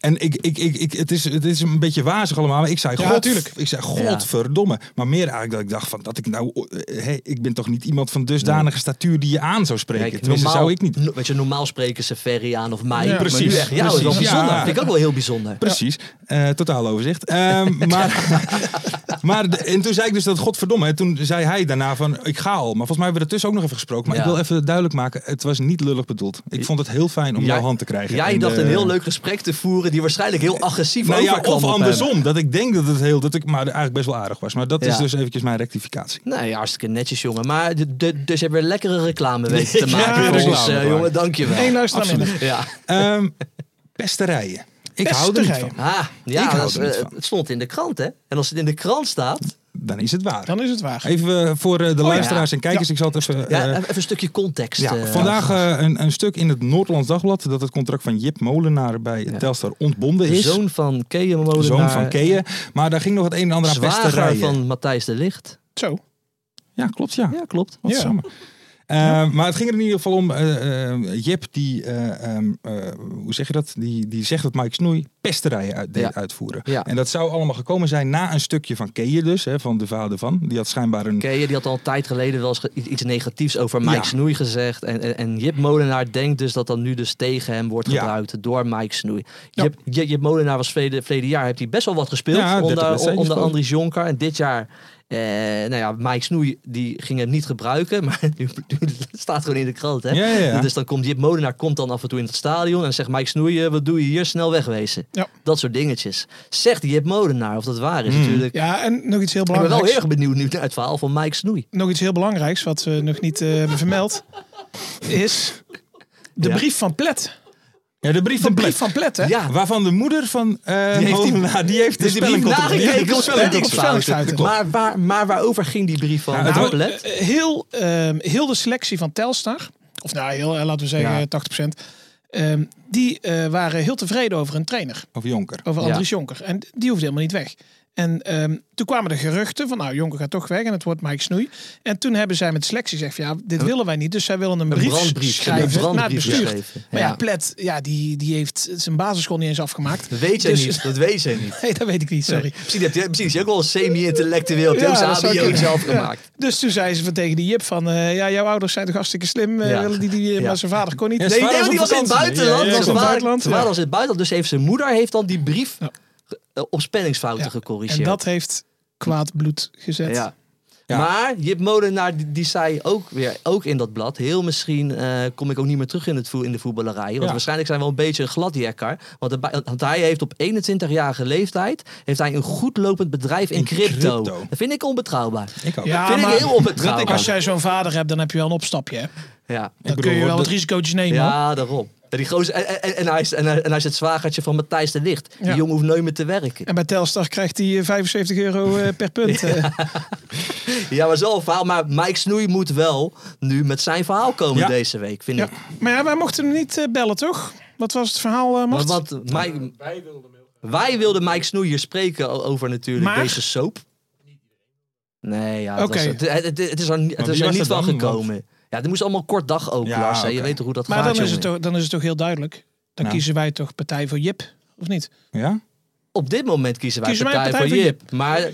[SPEAKER 4] en ik, ik, ik, ik, het, is, het is een beetje wazig allemaal, maar ik zei,
[SPEAKER 5] Ja,
[SPEAKER 4] God,
[SPEAKER 5] tuurlijk.
[SPEAKER 4] ik zei godverdomme. Maar meer eigenlijk dat ik dacht van, dat ik nou, eh, hey, ik ben toch niet iemand van dusdanige statuur die je aan zou spreken.
[SPEAKER 6] Kijk,
[SPEAKER 4] Tenminste, zou ik niet.
[SPEAKER 6] no- weet je, normaal spreken ze Ferry aan of mij.
[SPEAKER 5] Ja,
[SPEAKER 6] maar nu
[SPEAKER 4] precies,
[SPEAKER 6] echt jou, dat is wel
[SPEAKER 4] precies.
[SPEAKER 6] bijzonder.
[SPEAKER 4] Ja.
[SPEAKER 6] Vind ik ook wel heel bijzonder.
[SPEAKER 4] Precies, Eh, totaal overzicht. Ehm, maar maar de- en toen zei ik dus dat godverdomme. En toen zei hij daarna van, ik ga al. Maar volgens mij hebben we er tussen ook nog even gesproken. Maar
[SPEAKER 6] Ja.
[SPEAKER 4] ik wil even duidelijk maken, het was niet lullig bedoeld. Ik vond het heel fijn om
[SPEAKER 6] Jij-
[SPEAKER 4] jouw hand te krijgen.
[SPEAKER 6] Jij
[SPEAKER 4] En,
[SPEAKER 6] dacht een
[SPEAKER 4] eh,
[SPEAKER 6] heel leuk gesprek te voeren die waarschijnlijk heel agressief
[SPEAKER 4] Nou ja,
[SPEAKER 6] overkwam
[SPEAKER 4] of
[SPEAKER 6] op hem.
[SPEAKER 4] andersom. Dat ik denk dat het heel, dat ik maar eigenlijk best wel aardig was. Maar dat is
[SPEAKER 6] Ja.
[SPEAKER 4] dus eventjes mijn rectificatie.
[SPEAKER 6] Nee, hartstikke netjes, jongen. Maar de, de- dus je hebt weer lekkere reclame weten te maken
[SPEAKER 4] Ja,
[SPEAKER 6] voor ons,
[SPEAKER 4] reclame
[SPEAKER 6] eh,
[SPEAKER 4] maken.
[SPEAKER 6] jongen. Dank je wel.
[SPEAKER 5] Eén luisteraar minder.
[SPEAKER 6] Ja.
[SPEAKER 4] Ehm pesterijen. Ik hou er niet van.
[SPEAKER 5] Pesterijen.
[SPEAKER 6] Ah,
[SPEAKER 4] Ik
[SPEAKER 6] ja,
[SPEAKER 4] hou
[SPEAKER 6] dat is,
[SPEAKER 4] er niet
[SPEAKER 6] eh,
[SPEAKER 4] van.
[SPEAKER 6] het stond in de krant, hè? En als het in de krant staat...
[SPEAKER 4] Dan is het waar.
[SPEAKER 5] Dan is het waar.
[SPEAKER 4] Even eh, voor eh, de luisteraars en kijkers. Ik zal het even...
[SPEAKER 6] Oh Ja,
[SPEAKER 4] eh,
[SPEAKER 6] even een stukje context.
[SPEAKER 4] ja,
[SPEAKER 6] eh,
[SPEAKER 4] vandaag eh, een, een stuk in het Noordlands Dagblad dat het contract van Jip Molenaar bij Telstar ontbonden
[SPEAKER 6] de
[SPEAKER 4] is.
[SPEAKER 6] zoon van Keeën Molenaar.
[SPEAKER 4] Zoon van Keeën. Maar daar ging nog het een en ander aan
[SPEAKER 6] Zwager
[SPEAKER 4] pesterijen.
[SPEAKER 6] van Matthijs de Licht.
[SPEAKER 5] Zo.
[SPEAKER 4] Ja, klopt ja.
[SPEAKER 6] Ja, klopt.
[SPEAKER 4] Wat
[SPEAKER 5] Ja.
[SPEAKER 4] jammer. Eh, Maar het ging er in ieder geval om. eh, eh, Jip, die, eh, ehm, eh, hoe zeg je dat? Die, die zegt dat Mike Snoei pesterijen uit, deed
[SPEAKER 6] Ja.
[SPEAKER 4] uitvoeren.
[SPEAKER 6] Ja.
[SPEAKER 4] En dat zou allemaal gekomen zijn na een stukje van Keeën dus, hè, van de vader van. Die had schijnbaar een...
[SPEAKER 6] Keeën die had al een tijd geleden wel eens ge- iets negatiefs over Mike
[SPEAKER 4] Ja.
[SPEAKER 6] Snoei gezegd. En, en, en Jip Molenaar denkt dus dat dat nu dus tegen hem wordt
[SPEAKER 4] Ja.
[SPEAKER 6] gebruikt door Mike Snoei.
[SPEAKER 4] Ja.
[SPEAKER 6] Jip, Jip, Jip Molenaar was verleden, verleden jaar, heeft hij best wel wat gespeeld
[SPEAKER 4] Ja, 30
[SPEAKER 6] onder,
[SPEAKER 4] wedstrijden
[SPEAKER 6] onder
[SPEAKER 4] gespeeld.
[SPEAKER 6] Andries Jonker. En dit jaar, eh, nou ja, Mike Snoei die ging hem niet gebruiken. Maar nu, nu staat gewoon in de krant, hè.
[SPEAKER 4] Ja, ja, ja.
[SPEAKER 6] Dus dan komt Jip Molenaar komt dan af en toe in het stadion en zegt Mike Snoei, eh, wat doe je hier? Snel wegwezen.
[SPEAKER 5] Ja.
[SPEAKER 6] Dat soort dingetjes. Zegt Jip Molenaar of dat waar
[SPEAKER 4] Hmm.
[SPEAKER 6] is natuurlijk.
[SPEAKER 5] Ja, en nog iets heel
[SPEAKER 6] Ik ben
[SPEAKER 5] belangrijks.
[SPEAKER 6] wel heel erg benieuwd nu naar het verhaal van Mike Snoei.
[SPEAKER 5] nog iets heel belangrijks wat we nog niet eh, hebben vermeld. Is de
[SPEAKER 6] Ja.
[SPEAKER 5] brief van Plet.
[SPEAKER 4] Ja, de brief
[SPEAKER 5] De
[SPEAKER 4] van
[SPEAKER 5] brief
[SPEAKER 4] Plek.
[SPEAKER 5] van Plet, hè?
[SPEAKER 6] Ja,
[SPEAKER 4] Waarvan de moeder van eh
[SPEAKER 6] Die heeft die-
[SPEAKER 4] Molenaar, die heeft de
[SPEAKER 6] Dus die brief
[SPEAKER 4] spelling
[SPEAKER 6] nagekeken op
[SPEAKER 5] spelling-
[SPEAKER 6] spellingsfouten.
[SPEAKER 5] spellingsfouten.
[SPEAKER 6] Maar, waar, maar waarover ging die brief van
[SPEAKER 4] Nou, het
[SPEAKER 6] nou,
[SPEAKER 4] wordt-
[SPEAKER 6] Outlet?
[SPEAKER 5] Eh, heel, ehm, heel de selectie van Telstar, of nou heel, eh, laten we zeggen
[SPEAKER 4] Ja.
[SPEAKER 5] 80%, ehm, die eh, waren heel tevreden over hun trainer,
[SPEAKER 4] Of Jonker.
[SPEAKER 5] over
[SPEAKER 6] Ja.
[SPEAKER 5] Andries Jonker. En die hoefde helemaal niet weg. En ehm, toen kwamen de geruchten van, nou, Jonker gaat toch weg en het wordt Mike Snoei. En toen hebben zij met de selectie gezegd, van, ja, dit willen wij niet. Dus zij willen een, brief
[SPEAKER 6] brandbrief,
[SPEAKER 5] schrijven
[SPEAKER 6] een
[SPEAKER 5] naar het
[SPEAKER 6] brandbrief
[SPEAKER 5] bestuur.
[SPEAKER 6] schrijven.
[SPEAKER 5] Maar ja,
[SPEAKER 6] Ja.
[SPEAKER 5] Plet, ja, die, die heeft zijn basisschool niet eens afgemaakt.
[SPEAKER 6] Dat weet jij
[SPEAKER 5] Dus-
[SPEAKER 6] niet. Dat weet jij niet.
[SPEAKER 5] Nee, dat weet ik niet, sorry.
[SPEAKER 6] Misschien, heb je, misschien is je ook wel een semi-intellectueel.
[SPEAKER 5] Ja,
[SPEAKER 6] Ja,
[SPEAKER 5] dat zou
[SPEAKER 6] zelf
[SPEAKER 5] kunnen.
[SPEAKER 6] zelf gemaakt.
[SPEAKER 5] Dus toen zei ze van tegen die Jip van... eh, ja, jouw ouders zijn toch hartstikke slim. eh,
[SPEAKER 6] Ja.
[SPEAKER 5] willen die, die,
[SPEAKER 6] Ja.
[SPEAKER 5] Maar zijn vader kon niet.
[SPEAKER 4] Ja,
[SPEAKER 6] Nee,
[SPEAKER 4] Zwaar
[SPEAKER 6] nee,
[SPEAKER 4] was
[SPEAKER 6] die
[SPEAKER 4] op
[SPEAKER 6] was in het
[SPEAKER 4] vakantie.
[SPEAKER 6] buitenland.
[SPEAKER 4] Ja, ja,
[SPEAKER 6] Ze
[SPEAKER 4] ja.
[SPEAKER 6] waren-
[SPEAKER 5] Op buitenland,
[SPEAKER 6] ze waren
[SPEAKER 5] ja.
[SPEAKER 6] als in het buitenland. Dus heeft zijn moeder heeft dan die brief
[SPEAKER 5] Ja.
[SPEAKER 6] eh, op spellingsfouten
[SPEAKER 5] Ja,
[SPEAKER 6] gecorrigeerd.
[SPEAKER 5] En dat heeft kwaad bloed gezet.
[SPEAKER 6] Ja. Maar Jip Molenaar die, die zei ook weer, ook in dat blad, heel misschien eh, kom ik ook niet meer terug in, het vo- in de voetballerij. Want
[SPEAKER 10] Ja.
[SPEAKER 6] waarschijnlijk zijn we wel een beetje een gladjekker. Want, de ba- want hij heeft op 21-jarige leeftijd heeft hij een goed lopend bedrijf in, crypto.
[SPEAKER 5] crypto.
[SPEAKER 6] Dat vind ik onbetrouwbaar.
[SPEAKER 4] Ik ook.
[SPEAKER 6] vind ik heel onbetrouwbaar.
[SPEAKER 5] als jij zo'n vader hebt, dan heb je wel een opstapje. Hè?
[SPEAKER 6] Ja.
[SPEAKER 5] Dan kun je wel wat risicootjes nemen. hoor.
[SPEAKER 6] Ja, daarom. En, die gozer, en, en, en hij is, en, hij- en hij is het zwagertje van Matthijs de Licht. Die
[SPEAKER 5] Ja.
[SPEAKER 6] jongen hoeft nooit meer te werken.
[SPEAKER 5] En bij Telstar krijgt hij eh, 75 euro eh, per punt. eh.
[SPEAKER 6] Ja, maar zo'n verhaal. Maar Mike Snoei moet wel nu met zijn verhaal komen
[SPEAKER 5] Ja.
[SPEAKER 6] deze week, vind ik.
[SPEAKER 5] Maar ja, wij mochten hem niet eh, bellen, toch? Wat was het verhaal, eh Mart?
[SPEAKER 6] Maar wat Mike, wij wilden Mike Snoei hier spreken o- over natuurlijk
[SPEAKER 5] Maar-
[SPEAKER 6] deze soap. Nee, ja, het,
[SPEAKER 5] Oké.
[SPEAKER 6] was- het, het- het- het is er, niet-
[SPEAKER 5] Maar
[SPEAKER 6] het
[SPEAKER 5] wie
[SPEAKER 6] is er
[SPEAKER 5] was
[SPEAKER 6] niet
[SPEAKER 5] dat
[SPEAKER 6] van
[SPEAKER 5] dan? Want-
[SPEAKER 6] gekomen. Ja, er moest allemaal kort dag ook,
[SPEAKER 5] Ja,
[SPEAKER 6] Lars. hè. Je
[SPEAKER 5] oké.
[SPEAKER 6] weet toch hoe dat
[SPEAKER 5] maar
[SPEAKER 6] gaat,
[SPEAKER 5] dan is, het
[SPEAKER 6] jongen.
[SPEAKER 5] toch, dan is het toch heel duidelijk. Dan
[SPEAKER 6] Nou.
[SPEAKER 5] kiezen wij toch partij voor Jip, of niet?
[SPEAKER 4] Ja?
[SPEAKER 6] Op dit moment kiezen wij
[SPEAKER 5] Kiezen wij
[SPEAKER 6] partij,
[SPEAKER 5] Partij
[SPEAKER 6] voor
[SPEAKER 5] voor
[SPEAKER 6] Jip. Maar,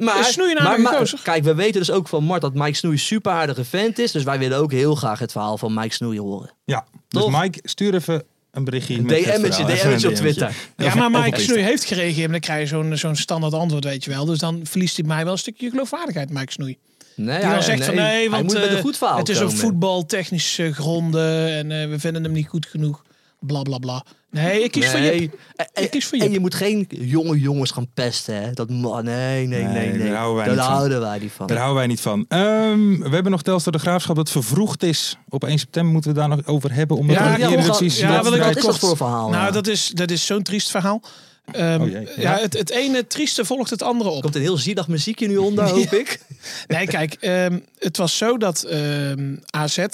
[SPEAKER 6] maar,
[SPEAKER 5] Is Snoei een aardige gozer?
[SPEAKER 6] kijk, we weten dus ook van Mart dat Mike Snoei een super aardige vent is. Dus wij willen ook heel graag het verhaal van Mike Snoei horen.
[SPEAKER 4] Ja, dus Mike, stuur even een berichtje. met het
[SPEAKER 6] DM'tje,
[SPEAKER 4] verhaal. Even een
[SPEAKER 6] DM'tje op
[SPEAKER 4] DM'tje.
[SPEAKER 6] Twitter.
[SPEAKER 5] Ja, maar Mike Snoei heeft gereageerd en dan krijg je zo'n zo'n standaard antwoord, weet je wel. Dus dan verliest hij mij wel een stukje geloofwaardigheid, Mike Snoei.
[SPEAKER 6] Nee,
[SPEAKER 5] Die dan
[SPEAKER 6] hij-
[SPEAKER 5] zegt van
[SPEAKER 6] nee,
[SPEAKER 5] nee,
[SPEAKER 6] hij
[SPEAKER 5] want
[SPEAKER 6] moet met een
[SPEAKER 5] eh,
[SPEAKER 6] goed verhaal
[SPEAKER 5] het is op
[SPEAKER 6] komen.
[SPEAKER 5] voetbaltechnische gronden eh, en eh, we vinden hem niet goed genoeg. Bla bla bla. Nee, ik kies voor
[SPEAKER 6] Nee.
[SPEAKER 5] Jip.
[SPEAKER 6] En, Eh, en je moet geen jonge jongens gaan pesten, hè? Dat, ma- nee, nee, nee, nee.
[SPEAKER 4] daar houden wij,
[SPEAKER 6] Daar
[SPEAKER 4] niet
[SPEAKER 6] houden
[SPEAKER 4] van.
[SPEAKER 6] wij niet van.
[SPEAKER 4] Daar houden wij niet van. Ehm, we hebben nog Telstar de Graafschap dat vervroegd is. Op 1 september moeten we daar nog over hebben. Omdat
[SPEAKER 5] Ja,
[SPEAKER 4] er
[SPEAKER 5] ik
[SPEAKER 4] hier
[SPEAKER 5] wil-
[SPEAKER 4] precies
[SPEAKER 5] ja,
[SPEAKER 4] dat
[SPEAKER 5] wil ik
[SPEAKER 4] draait.
[SPEAKER 5] ook kort- Nou, dat is, dat is zo'n triest verhaal. Ehm,
[SPEAKER 6] Oh jee,
[SPEAKER 5] ja,
[SPEAKER 6] ja.
[SPEAKER 5] het, het ene trieste volgt het andere op.
[SPEAKER 6] Komt een heel zielig muziekje nu onder, hoop ik.
[SPEAKER 5] Nee, kijk, ehm, het was zo dat ehm, AZ,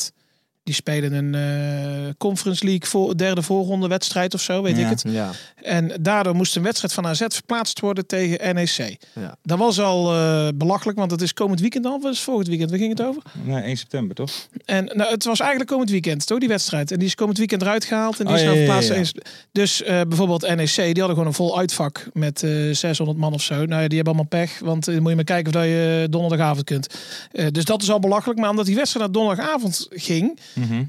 [SPEAKER 5] die spelen een eh, Conference League voor, derde voorronde wedstrijd of zo, weet
[SPEAKER 6] Ja.
[SPEAKER 5] ik het.
[SPEAKER 6] Ja.
[SPEAKER 5] En daardoor moest een wedstrijd van AZ verplaatst worden tegen NEC.
[SPEAKER 6] Ja.
[SPEAKER 5] Dat was al eh, belachelijk, want het is komend weekend al, of is het volgend weekend, waar ging het over?
[SPEAKER 4] Nee, 1 september toch?
[SPEAKER 5] En nou, het was eigenlijk komend weekend, toch, die wedstrijd. En die is komend weekend eruit gehaald en die
[SPEAKER 4] Oh,
[SPEAKER 5] is
[SPEAKER 4] ja,
[SPEAKER 5] nou
[SPEAKER 4] ja, ja,
[SPEAKER 5] verplaatst.
[SPEAKER 4] ja.
[SPEAKER 5] eens- Dus eh, bijvoorbeeld NEC, die hadden gewoon een vol uitvak met eh, 600 man of zo. Nou ja, die hebben allemaal pech, want eh, moet je maar kijken of dat je donderdagavond kunt. Eh, dus dat is al belachelijk. Maar omdat die wedstrijd naar donderdagavond ging,
[SPEAKER 4] Mhm.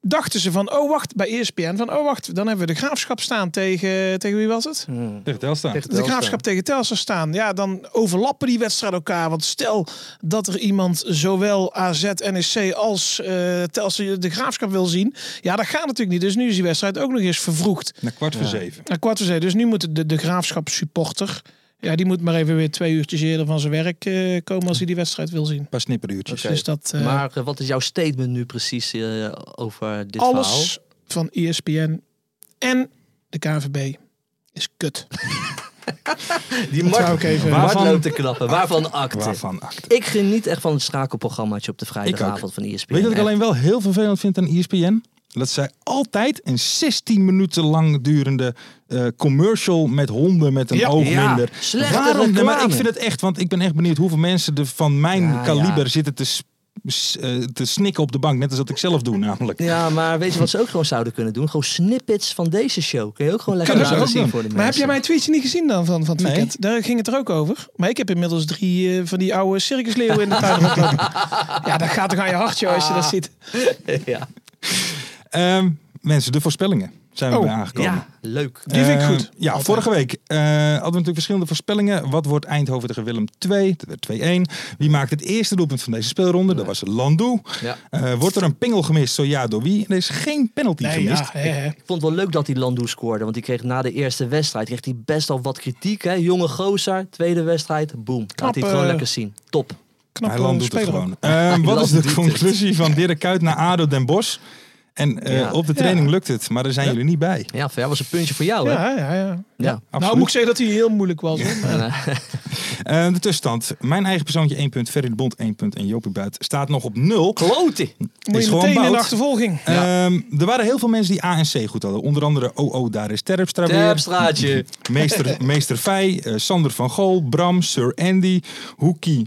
[SPEAKER 5] dachten ze van, oh wacht, bij ESPN, van oh wacht, dan hebben we de graafschap staan tegen, tegen wie was het?
[SPEAKER 4] Tegen Telstar.
[SPEAKER 5] De graafschap tegen Telstar staan. Ja, dan overlappen die wedstrijden elkaar. Want stel dat er iemand zowel AZ, NEC als eh Telstar de graafschap wil zien. Ja, dat gaat natuurlijk niet. Dus nu is die wedstrijd ook nog eens vervroegd.
[SPEAKER 4] Naar kwart voor zeven.
[SPEAKER 5] Nou, kwart voor zeven. Dus nu moet de, de graafschap supporter... Ja, die moet maar even weer twee uurtjes eerder van zijn werk eh, komen als hij die wedstrijd wil zien.
[SPEAKER 4] Pas snipperuurtjes.
[SPEAKER 5] Dus dat... eh,
[SPEAKER 6] maar eh, wat is jouw statement nu precies eh, over dit
[SPEAKER 5] alles
[SPEAKER 6] verhaal?
[SPEAKER 5] van E ESPN en de KNVB is kut.
[SPEAKER 6] Die
[SPEAKER 5] Dat
[SPEAKER 6] Mart,
[SPEAKER 5] wou ik even-
[SPEAKER 6] Mart
[SPEAKER 5] Waarvan-
[SPEAKER 6] loopt te knappen. Waarvan acte?
[SPEAKER 4] Eh, Waarvan
[SPEAKER 6] Ik geniet echt van het schakelprogrammaatje op de vrijdagavond van E ESPN.
[SPEAKER 4] Weet je wat ik
[SPEAKER 6] Echt.
[SPEAKER 4] alleen wel heel vervelend vind aan E ESPN? Dat zij altijd een 16 minuten lang durende eh, commercial met honden met een
[SPEAKER 6] Ja.
[SPEAKER 4] oog
[SPEAKER 6] Ja,
[SPEAKER 4] minder.
[SPEAKER 6] slechte
[SPEAKER 4] Waarom? Nee, maar ik
[SPEAKER 6] reclame.
[SPEAKER 4] vind het echt, want ik ben echt benieuwd hoeveel mensen er van mijn
[SPEAKER 6] Ja,
[SPEAKER 4] kaliber
[SPEAKER 6] ja.
[SPEAKER 4] zitten te, s- s- eh, te snikken op de bank. Net als dat ik zelf doe namelijk.
[SPEAKER 6] Ja, maar weet je wat ze ook gewoon zouden kunnen doen? Gewoon snippets van deze show. Kun je ook gewoon lekker
[SPEAKER 5] Kunnen ze
[SPEAKER 6] laten
[SPEAKER 5] ook
[SPEAKER 6] zien
[SPEAKER 5] doen.
[SPEAKER 6] voor de mensen.
[SPEAKER 5] Maar heb jij mijn tweetje niet gezien dan van, van het
[SPEAKER 6] Nee.
[SPEAKER 5] weekend? Daar ging het er ook over. Maar ik heb inmiddels drie eh, van die oude circusleeuwen in de tuin rondlopen. ja, dat gaat toch aan je hartje als je dat ziet.
[SPEAKER 6] ja.
[SPEAKER 4] Ehm, mensen, de voorspellingen zijn we
[SPEAKER 5] Oh,
[SPEAKER 4] bij aangekomen.
[SPEAKER 6] ja, leuk.
[SPEAKER 5] Die vind ik
[SPEAKER 4] Ehm,
[SPEAKER 5] goed.
[SPEAKER 4] ja,
[SPEAKER 5] Altijd.
[SPEAKER 4] vorige week eh, hadden we natuurlijk verschillende voorspellingen. Wat wordt Eindhoven tegen Willem 2? Dat werd 2-1. Wie maakt het eerste doelpunt van deze speelronde? Dat was Landoe.
[SPEAKER 6] Ja.
[SPEAKER 4] Eh, wordt er een pingel gemist? Zo ja, door wie? Er is geen penalty gemist.
[SPEAKER 6] ik vond het wel leuk dat hij Landoe scoorde. Want die kreeg na de eerste wedstrijd kreeg hij best al wat kritiek. Hè? Jonge gozer, tweede wedstrijd, boem. Laat hij het gewoon
[SPEAKER 4] eh,
[SPEAKER 6] lekker zien. Top.
[SPEAKER 4] Hij Land
[SPEAKER 5] eh,
[SPEAKER 4] doet het
[SPEAKER 6] speler
[SPEAKER 4] gewoon.
[SPEAKER 6] ook.
[SPEAKER 4] Ehm,
[SPEAKER 6] Hij
[SPEAKER 4] wat
[SPEAKER 6] Land
[SPEAKER 4] is de
[SPEAKER 6] doet
[SPEAKER 4] conclusie van Dirk Kuyt naar ADO Den Bosch? En eh,
[SPEAKER 6] Ja.
[SPEAKER 4] op de training
[SPEAKER 6] Ja.
[SPEAKER 4] lukt het, maar daar zijn jullie niet bij.
[SPEAKER 6] Ja, voor jou was een puntje voor jou, hè?
[SPEAKER 5] Ja, ja, ja.
[SPEAKER 6] Ja.
[SPEAKER 5] Nou moet ik zeggen dat hij heel moeilijk was. hoor. Maar-
[SPEAKER 4] Eh, de tussenstand. Mijn eigen persoontje 1 punt, Ferry de Bond 1 punt en Jopie Buit staat nog op 0.
[SPEAKER 6] Klote!
[SPEAKER 5] Moet je meteen in de achtervolging.
[SPEAKER 4] Ehm, er waren heel veel mensen die A en C goed hadden. Onder andere OO, daar is Terpstra weer.
[SPEAKER 6] Terpstraatje.
[SPEAKER 4] Meester, Meester Fey, eh, Sander van Gool, Bram, Sir Andy, Hoekie.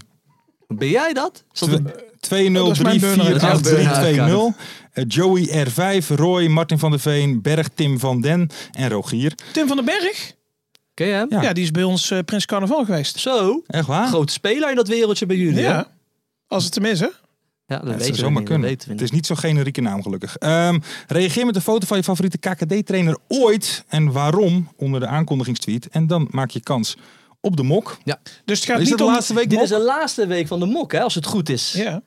[SPEAKER 6] Ben jij dat? Stond
[SPEAKER 4] Twe- 2-0,
[SPEAKER 6] Dat is mijn
[SPEAKER 4] 3-4,
[SPEAKER 6] burn-out.
[SPEAKER 4] 8, 3,
[SPEAKER 6] Ja, burn-out.
[SPEAKER 4] 2-0. Eh, Joey R5, Roy, Martin van der Veen, Berg, Tim van Den en Rogier.
[SPEAKER 5] Tim van den Berg?
[SPEAKER 6] Ken je hem?
[SPEAKER 5] Ja. die is bij ons eh, Prins Carnaval geweest.
[SPEAKER 6] Zo.
[SPEAKER 4] Echt waar?
[SPEAKER 6] Grote speler in dat wereldje bij jullie, hè?
[SPEAKER 5] Ja. Als het tenminste.
[SPEAKER 6] Ja, dat
[SPEAKER 4] Ja, het
[SPEAKER 6] weten
[SPEAKER 4] zou
[SPEAKER 6] we
[SPEAKER 4] zomaar
[SPEAKER 6] niet, dat
[SPEAKER 4] kunnen.
[SPEAKER 6] weten we
[SPEAKER 4] Het is niet zo'n generieke naam, gelukkig. Ehm, reageer met een foto van je favoriete KKD-trainer ooit en waarom onder de aankondigingstweet. En dan maak je kans op de mok.
[SPEAKER 6] Ja.
[SPEAKER 5] Dus het gaat
[SPEAKER 4] is
[SPEAKER 5] niet
[SPEAKER 4] dat de
[SPEAKER 5] om-
[SPEAKER 4] laatste week
[SPEAKER 6] Dit
[SPEAKER 4] mok?
[SPEAKER 6] is de laatste week van de mok, hè, als het goed is.
[SPEAKER 5] Ja.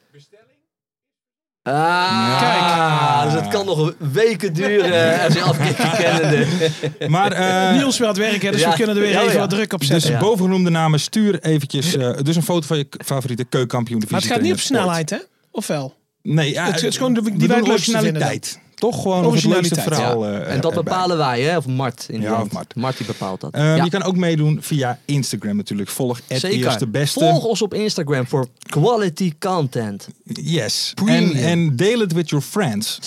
[SPEAKER 6] Ah, Kijk. Dus het kan nog weken duren eh, als je afkikken kennende.
[SPEAKER 4] Maar, eh,
[SPEAKER 5] Niels wil aan het werk, hè, dus we kunnen er weer even wat druk op zetten.
[SPEAKER 4] Dus bovengenoemde namen, stuur eventjes eh, dus een foto van je k- favoriete keukenkampioen.
[SPEAKER 5] maar het gaat niet op snelheid, hè? Of wel?
[SPEAKER 4] Nee, ja,
[SPEAKER 5] het, het is gewoon de-
[SPEAKER 4] we
[SPEAKER 5] die wij
[SPEAKER 4] doen
[SPEAKER 5] het leukste vinden.
[SPEAKER 4] originaliteit. Toch gewoon nog het leukste
[SPEAKER 5] Originaliteit,
[SPEAKER 4] verhaal.
[SPEAKER 6] Ja.
[SPEAKER 4] eh,
[SPEAKER 6] en dat
[SPEAKER 4] erbij.
[SPEAKER 6] bepalen wij, hè? Of Mart in
[SPEAKER 4] Ja,
[SPEAKER 6] Nederland.
[SPEAKER 4] of Mart.
[SPEAKER 6] die bepaalt dat.
[SPEAKER 4] Ehm,
[SPEAKER 6] Ja.
[SPEAKER 4] Je kan ook meedoen via Instagram natuurlijk. Volg het
[SPEAKER 6] Zeker.
[SPEAKER 4] eerste beste.
[SPEAKER 6] Volg ons op Instagram voor quality content.
[SPEAKER 4] Yes.
[SPEAKER 6] Premium.
[SPEAKER 4] En, en deel het with your friends.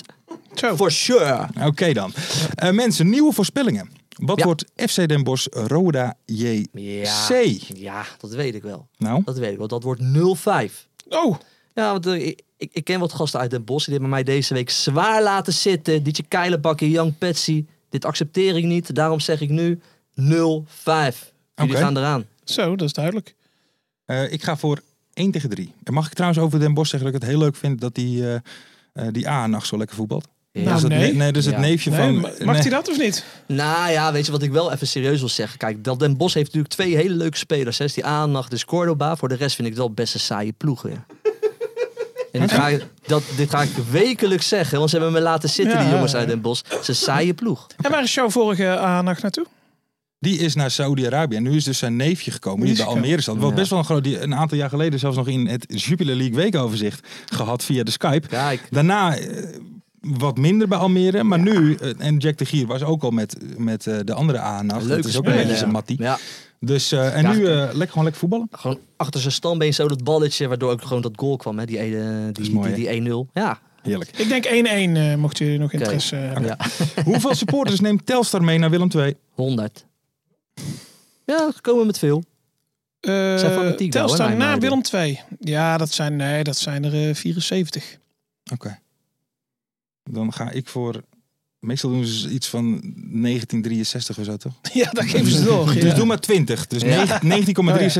[SPEAKER 6] For sure.
[SPEAKER 4] Oké dan. Eh, mensen, nieuwe voorspellingen. Wat wordt FC Den Bosch Roda JC?
[SPEAKER 6] Ja. Ja, dat weet ik wel.
[SPEAKER 4] Nou?
[SPEAKER 6] Dat weet ik wel. Dat wordt 0-5.
[SPEAKER 5] Oh.
[SPEAKER 6] Ja, want eh, ik, ik, ik ken wat gasten uit Den Bosch. Die hebben mij deze week zwaar laten zitten. Dietje Keilenbakken, Young Patsy. Dit accepteer ik niet. Daarom zeg ik nu 0-5. Jullie
[SPEAKER 4] Oké.
[SPEAKER 6] gaan eraan.
[SPEAKER 5] Zo, dat is duidelijk.
[SPEAKER 4] Eh, ik ga voor 1 tegen 3. En mag ik trouwens over Den Bosch zeggen dat ik het heel leuk vind dat die, eh eh, die A-nacht zo lekker voetbalt?
[SPEAKER 6] Nou,
[SPEAKER 4] dat is het
[SPEAKER 6] nee.
[SPEAKER 4] ne- nee, dus
[SPEAKER 6] Ja.
[SPEAKER 4] het neefje
[SPEAKER 6] Nee,
[SPEAKER 4] van...
[SPEAKER 6] ma- mag
[SPEAKER 4] nee.
[SPEAKER 6] die
[SPEAKER 5] dat of niet?
[SPEAKER 6] Nou ja, weet je wat ik wel even serieus wil zeggen? Kijk, dat Den Bos heeft natuurlijk twee hele leuke spelers. Hè? Is Die aandacht is Cordoba. Voor de rest vind ik dat best een saaie ploeg weer. En dit ga, ik, dat, dit ga ik wekelijks zeggen, want ze hebben me laten zitten,
[SPEAKER 5] Ja,
[SPEAKER 6] die jongens
[SPEAKER 5] ja,
[SPEAKER 6] uit Den Bos. Ze saaie ploeg.
[SPEAKER 5] En waar is jouw vorige eh, aandacht naartoe?
[SPEAKER 4] Die is naar Saudi-Arabië en nu is dus zijn neefje gekomen,
[SPEAKER 5] Die
[SPEAKER 4] die
[SPEAKER 5] is
[SPEAKER 4] bij Almere zat. Wat
[SPEAKER 6] Ja.
[SPEAKER 4] best wel een groot, die een aantal jaar geleden zelfs nog in het Jupiler League weekoverzicht gehad via de Skype.
[SPEAKER 6] Kijk.
[SPEAKER 4] Daarna eh, wat minder bij Almere, maar nu, eh, en Jack de Gier was ook al met, met eh, de andere aandacht.
[SPEAKER 6] Leuke
[SPEAKER 4] dat is ook
[SPEAKER 6] speler,
[SPEAKER 4] een beetje
[SPEAKER 6] ja.
[SPEAKER 4] zijn mattie.
[SPEAKER 6] Ja.
[SPEAKER 4] Dus, eh, en
[SPEAKER 6] Ja,
[SPEAKER 4] nu
[SPEAKER 6] goed.
[SPEAKER 4] eh, lekker, gewoon lekker voetballen.
[SPEAKER 6] Gewoon achter zijn standbeen zo dat balletje, waardoor ook gewoon dat goal kwam, hè? die, ene- die,
[SPEAKER 4] mooi,
[SPEAKER 6] die, die 1-0. Ja.
[SPEAKER 4] Heerlijk.
[SPEAKER 5] Ik denk 1-1, eh, mochten jullie nog interesse hebben.
[SPEAKER 6] ja,
[SPEAKER 4] Hoeveel supporters neemt Telstar mee naar Willem II?
[SPEAKER 6] 100. Ja, ze komen met veel.
[SPEAKER 5] Eh,
[SPEAKER 6] Zijn fanatiek wel, hè,
[SPEAKER 5] Telstar
[SPEAKER 6] mijn
[SPEAKER 5] na
[SPEAKER 6] meiden.
[SPEAKER 5] Willem 2. Ja, dat zijn, nee, dat zijn er eh, 74.
[SPEAKER 4] Oké. Dan ga ik voor... Meestal doen ze dus iets van 1963 of zo, toch?
[SPEAKER 5] Ja, dat geven ze door.
[SPEAKER 4] Dus
[SPEAKER 5] ja.
[SPEAKER 4] doe maar 20. Dus
[SPEAKER 5] Ja.
[SPEAKER 4] negen-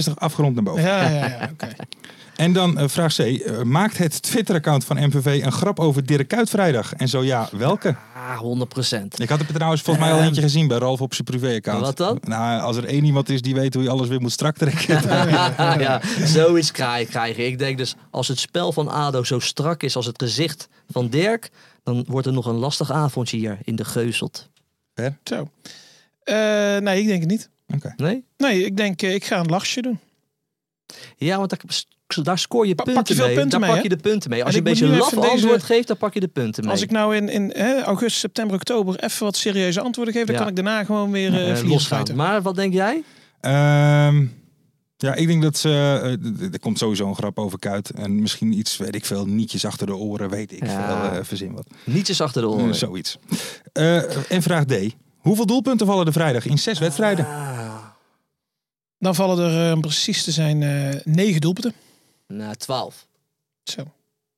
[SPEAKER 4] 19,63
[SPEAKER 5] Oh
[SPEAKER 4] afgerond naar boven.
[SPEAKER 5] Ja, ja, ja. oké.
[SPEAKER 4] En dan eh, vraag C. eh, maakt het Twitter-account van MVV een grap over Dirk Kuyt vrijdag? En zo ja, welke?
[SPEAKER 6] Ah, 100 procent.
[SPEAKER 4] Ik had er trouwens volgens mij al
[SPEAKER 6] Ehm.
[SPEAKER 4] eentje gezien bij Ralf op zijn privé-account.
[SPEAKER 6] Wat dan?
[SPEAKER 4] Nou, als er één iemand is die weet hoe je alles weer moet strak trekken.
[SPEAKER 6] ja, zoiets krijg ik- krijg ik. Ik denk dus, als het spel van ADO zo strak is als het gezicht van Dirk... dan wordt er nog een lastig avondje hier in de Geuzelt.
[SPEAKER 5] Zo. Eh, nee, ik denk het niet.
[SPEAKER 4] Oké.
[SPEAKER 6] Nee?
[SPEAKER 5] Nee, ik denk, eh, ik ga een lachje doen.
[SPEAKER 6] Ja, want daar, daar scoor je
[SPEAKER 5] pak
[SPEAKER 6] punten
[SPEAKER 5] je veel
[SPEAKER 6] mee. daar
[SPEAKER 5] punten mee,
[SPEAKER 6] pak je
[SPEAKER 5] hè?
[SPEAKER 6] de punten mee. Als
[SPEAKER 5] En
[SPEAKER 6] je
[SPEAKER 5] ik
[SPEAKER 6] een beetje
[SPEAKER 5] moet
[SPEAKER 6] een
[SPEAKER 5] nu
[SPEAKER 6] laf
[SPEAKER 5] even deze-
[SPEAKER 6] antwoord geeft, dan pak je de punten mee.
[SPEAKER 5] Als ik nou in, in hè, augustus, september, oktober even wat serieuze antwoorden geef, dan
[SPEAKER 6] Ja.
[SPEAKER 5] kan ik daarna gewoon weer eh
[SPEAKER 6] Eh,
[SPEAKER 5] vliegen
[SPEAKER 6] losgaan.
[SPEAKER 5] spuiten.
[SPEAKER 6] Maar wat denk jij?
[SPEAKER 4] Ehm, ja, ik denk dat ze... eh, d- d- er komt sowieso een grap over Kuyt. En misschien iets, weet ik veel, nietjes achter de oren. Weet ik
[SPEAKER 6] Ja.
[SPEAKER 4] veel, eh, verzin wat.
[SPEAKER 6] Nietjes achter de
[SPEAKER 4] Eh,
[SPEAKER 6] oren.
[SPEAKER 4] zoiets. Eh, en vraag D. Hoeveel doelpunten vallen er vrijdag in zes wedstrijden?
[SPEAKER 6] Ah.
[SPEAKER 5] Dan vallen er, eh, om precies te zijn, eh, negen doelpunten.
[SPEAKER 6] Nou, 12.
[SPEAKER 5] Zo.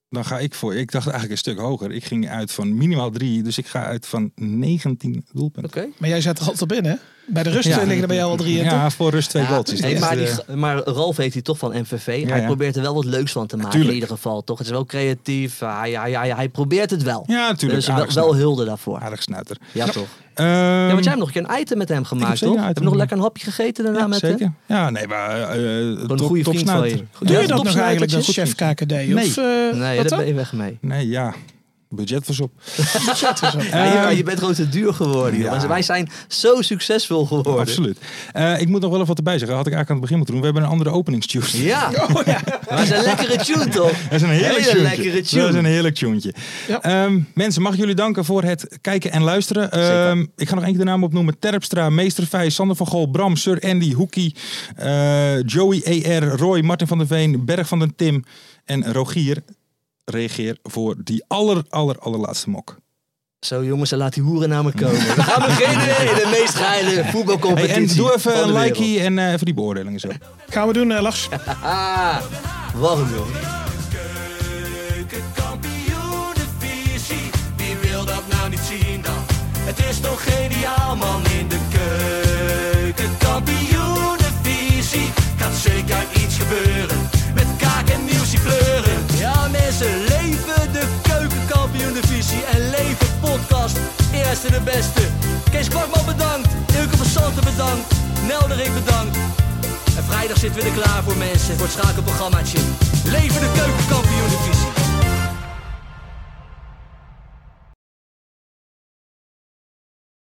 [SPEAKER 4] Dan ga ik voor. Ik dacht eigenlijk een stuk hoger. Ik ging uit van minimaal drie. Dus ik ga uit van 19 doelpunten.
[SPEAKER 6] Oké.
[SPEAKER 5] Maar jij zat er altijd binnen, hè? Bij de rust
[SPEAKER 4] Ja.
[SPEAKER 5] liggen er bij jou al drie in, toch?
[SPEAKER 4] Ja, voor rust twee
[SPEAKER 6] Ja,
[SPEAKER 4] goaltjes.
[SPEAKER 6] hey,
[SPEAKER 4] Dat is
[SPEAKER 6] maar,
[SPEAKER 4] de-
[SPEAKER 6] die,
[SPEAKER 5] eh,
[SPEAKER 6] g- maar Ralf heeft hij toch van MVV.
[SPEAKER 4] Ja,
[SPEAKER 6] hij
[SPEAKER 4] ja.
[SPEAKER 6] probeert er wel wat leuks van te maken
[SPEAKER 4] Tuurlijk.
[SPEAKER 6] in ieder geval. Toch? Het is wel creatief. Hij, hij, hij, hij probeert het wel.
[SPEAKER 4] Ja, natuurlijk.
[SPEAKER 6] Dus wel,
[SPEAKER 4] Aardig
[SPEAKER 6] wel
[SPEAKER 4] snuiter.
[SPEAKER 6] hulde daarvoor.
[SPEAKER 4] Aardig snuiter.
[SPEAKER 6] Ja, toch?
[SPEAKER 4] Ehm,
[SPEAKER 6] Ja, want jij hebt nog een keer een item met hem gemaakt,
[SPEAKER 4] zeker
[SPEAKER 6] toch?
[SPEAKER 4] een
[SPEAKER 6] Heb je
[SPEAKER 4] item
[SPEAKER 6] nog lekker een hapje gegeten daarna
[SPEAKER 4] ja,
[SPEAKER 6] met hem?
[SPEAKER 4] zeker. Ja, nee, maar eh, eh,
[SPEAKER 6] Gewoon
[SPEAKER 4] top-
[SPEAKER 6] een goede
[SPEAKER 4] top
[SPEAKER 6] vriend van je.
[SPEAKER 4] snuiter.
[SPEAKER 6] Goed.
[SPEAKER 5] Doe
[SPEAKER 6] Ja,
[SPEAKER 5] je dat nog
[SPEAKER 6] topsnuitertje?
[SPEAKER 5] eigenlijk, dat
[SPEAKER 6] Goed.
[SPEAKER 5] chef KKD? Of, eh,
[SPEAKER 6] Nee, daar ben
[SPEAKER 5] wat dan?
[SPEAKER 6] je weg mee.
[SPEAKER 4] Nee, ja. Budget was op.
[SPEAKER 6] Ja, je, je bent gewoon te duur geworden. joh.
[SPEAKER 4] Ehm, Ja.
[SPEAKER 6] Wij zijn zo succesvol geworden.
[SPEAKER 4] Absoluut. Eh, ik moet nog wel even wat erbij zeggen. Had ik eigenlijk aan het begin moeten doen. We hebben een andere openingstune.
[SPEAKER 6] Ja.
[SPEAKER 4] Oh,
[SPEAKER 6] Maar het is een lekkere tune, toch?
[SPEAKER 4] Dat is een heerlijk
[SPEAKER 6] Hele
[SPEAKER 4] tune.
[SPEAKER 6] lekkere tune.
[SPEAKER 4] Dat is een heerlijk tuentje.
[SPEAKER 5] Ja.
[SPEAKER 4] Ehm, mensen, mag ik jullie danken voor het kijken en luisteren. Ehm, ik ga nog één keer de namen opnoemen. Terpstra, Meester Vijs, Sander van Gol, Bram, Sir Andy, Hoekie, eh, Joey ER, Roy, Martin van der Veen, Berg van den Tim en Rogier. Reageer voor die aller, aller, allerlaatste mok.
[SPEAKER 6] Zo jongens, dan laat die hoeren naar me komen. We gaan beginnen in de meest geile
[SPEAKER 4] Hey, en
[SPEAKER 6] voetbalcompetitie
[SPEAKER 4] doe even
[SPEAKER 6] van de
[SPEAKER 4] een
[SPEAKER 6] wereld.
[SPEAKER 4] likey en eh, even die beoordelingen zo.
[SPEAKER 5] Gaan we doen, eh, Lars?
[SPEAKER 6] Ah, warm joh.
[SPEAKER 2] Keukenkampioenenvisie, wie wil dat nou niet zien dan? Het is toch geniaal man in de keukenkampioenenvisie. Gaat zeker iets gebeuren, met kaak en nieuwsie kleuren.
[SPEAKER 11] Ja mensen, leven de keukenkampioen-divisie en leven podcast. Eerste de beste. Kees Kwakman bedankt, Ilke van Santen bedankt, Nelderik bedankt.
[SPEAKER 6] En vrijdag zitten we er klaar voor mensen voor het schakelprogrammaatje. Leven de keukenkampioen divisie.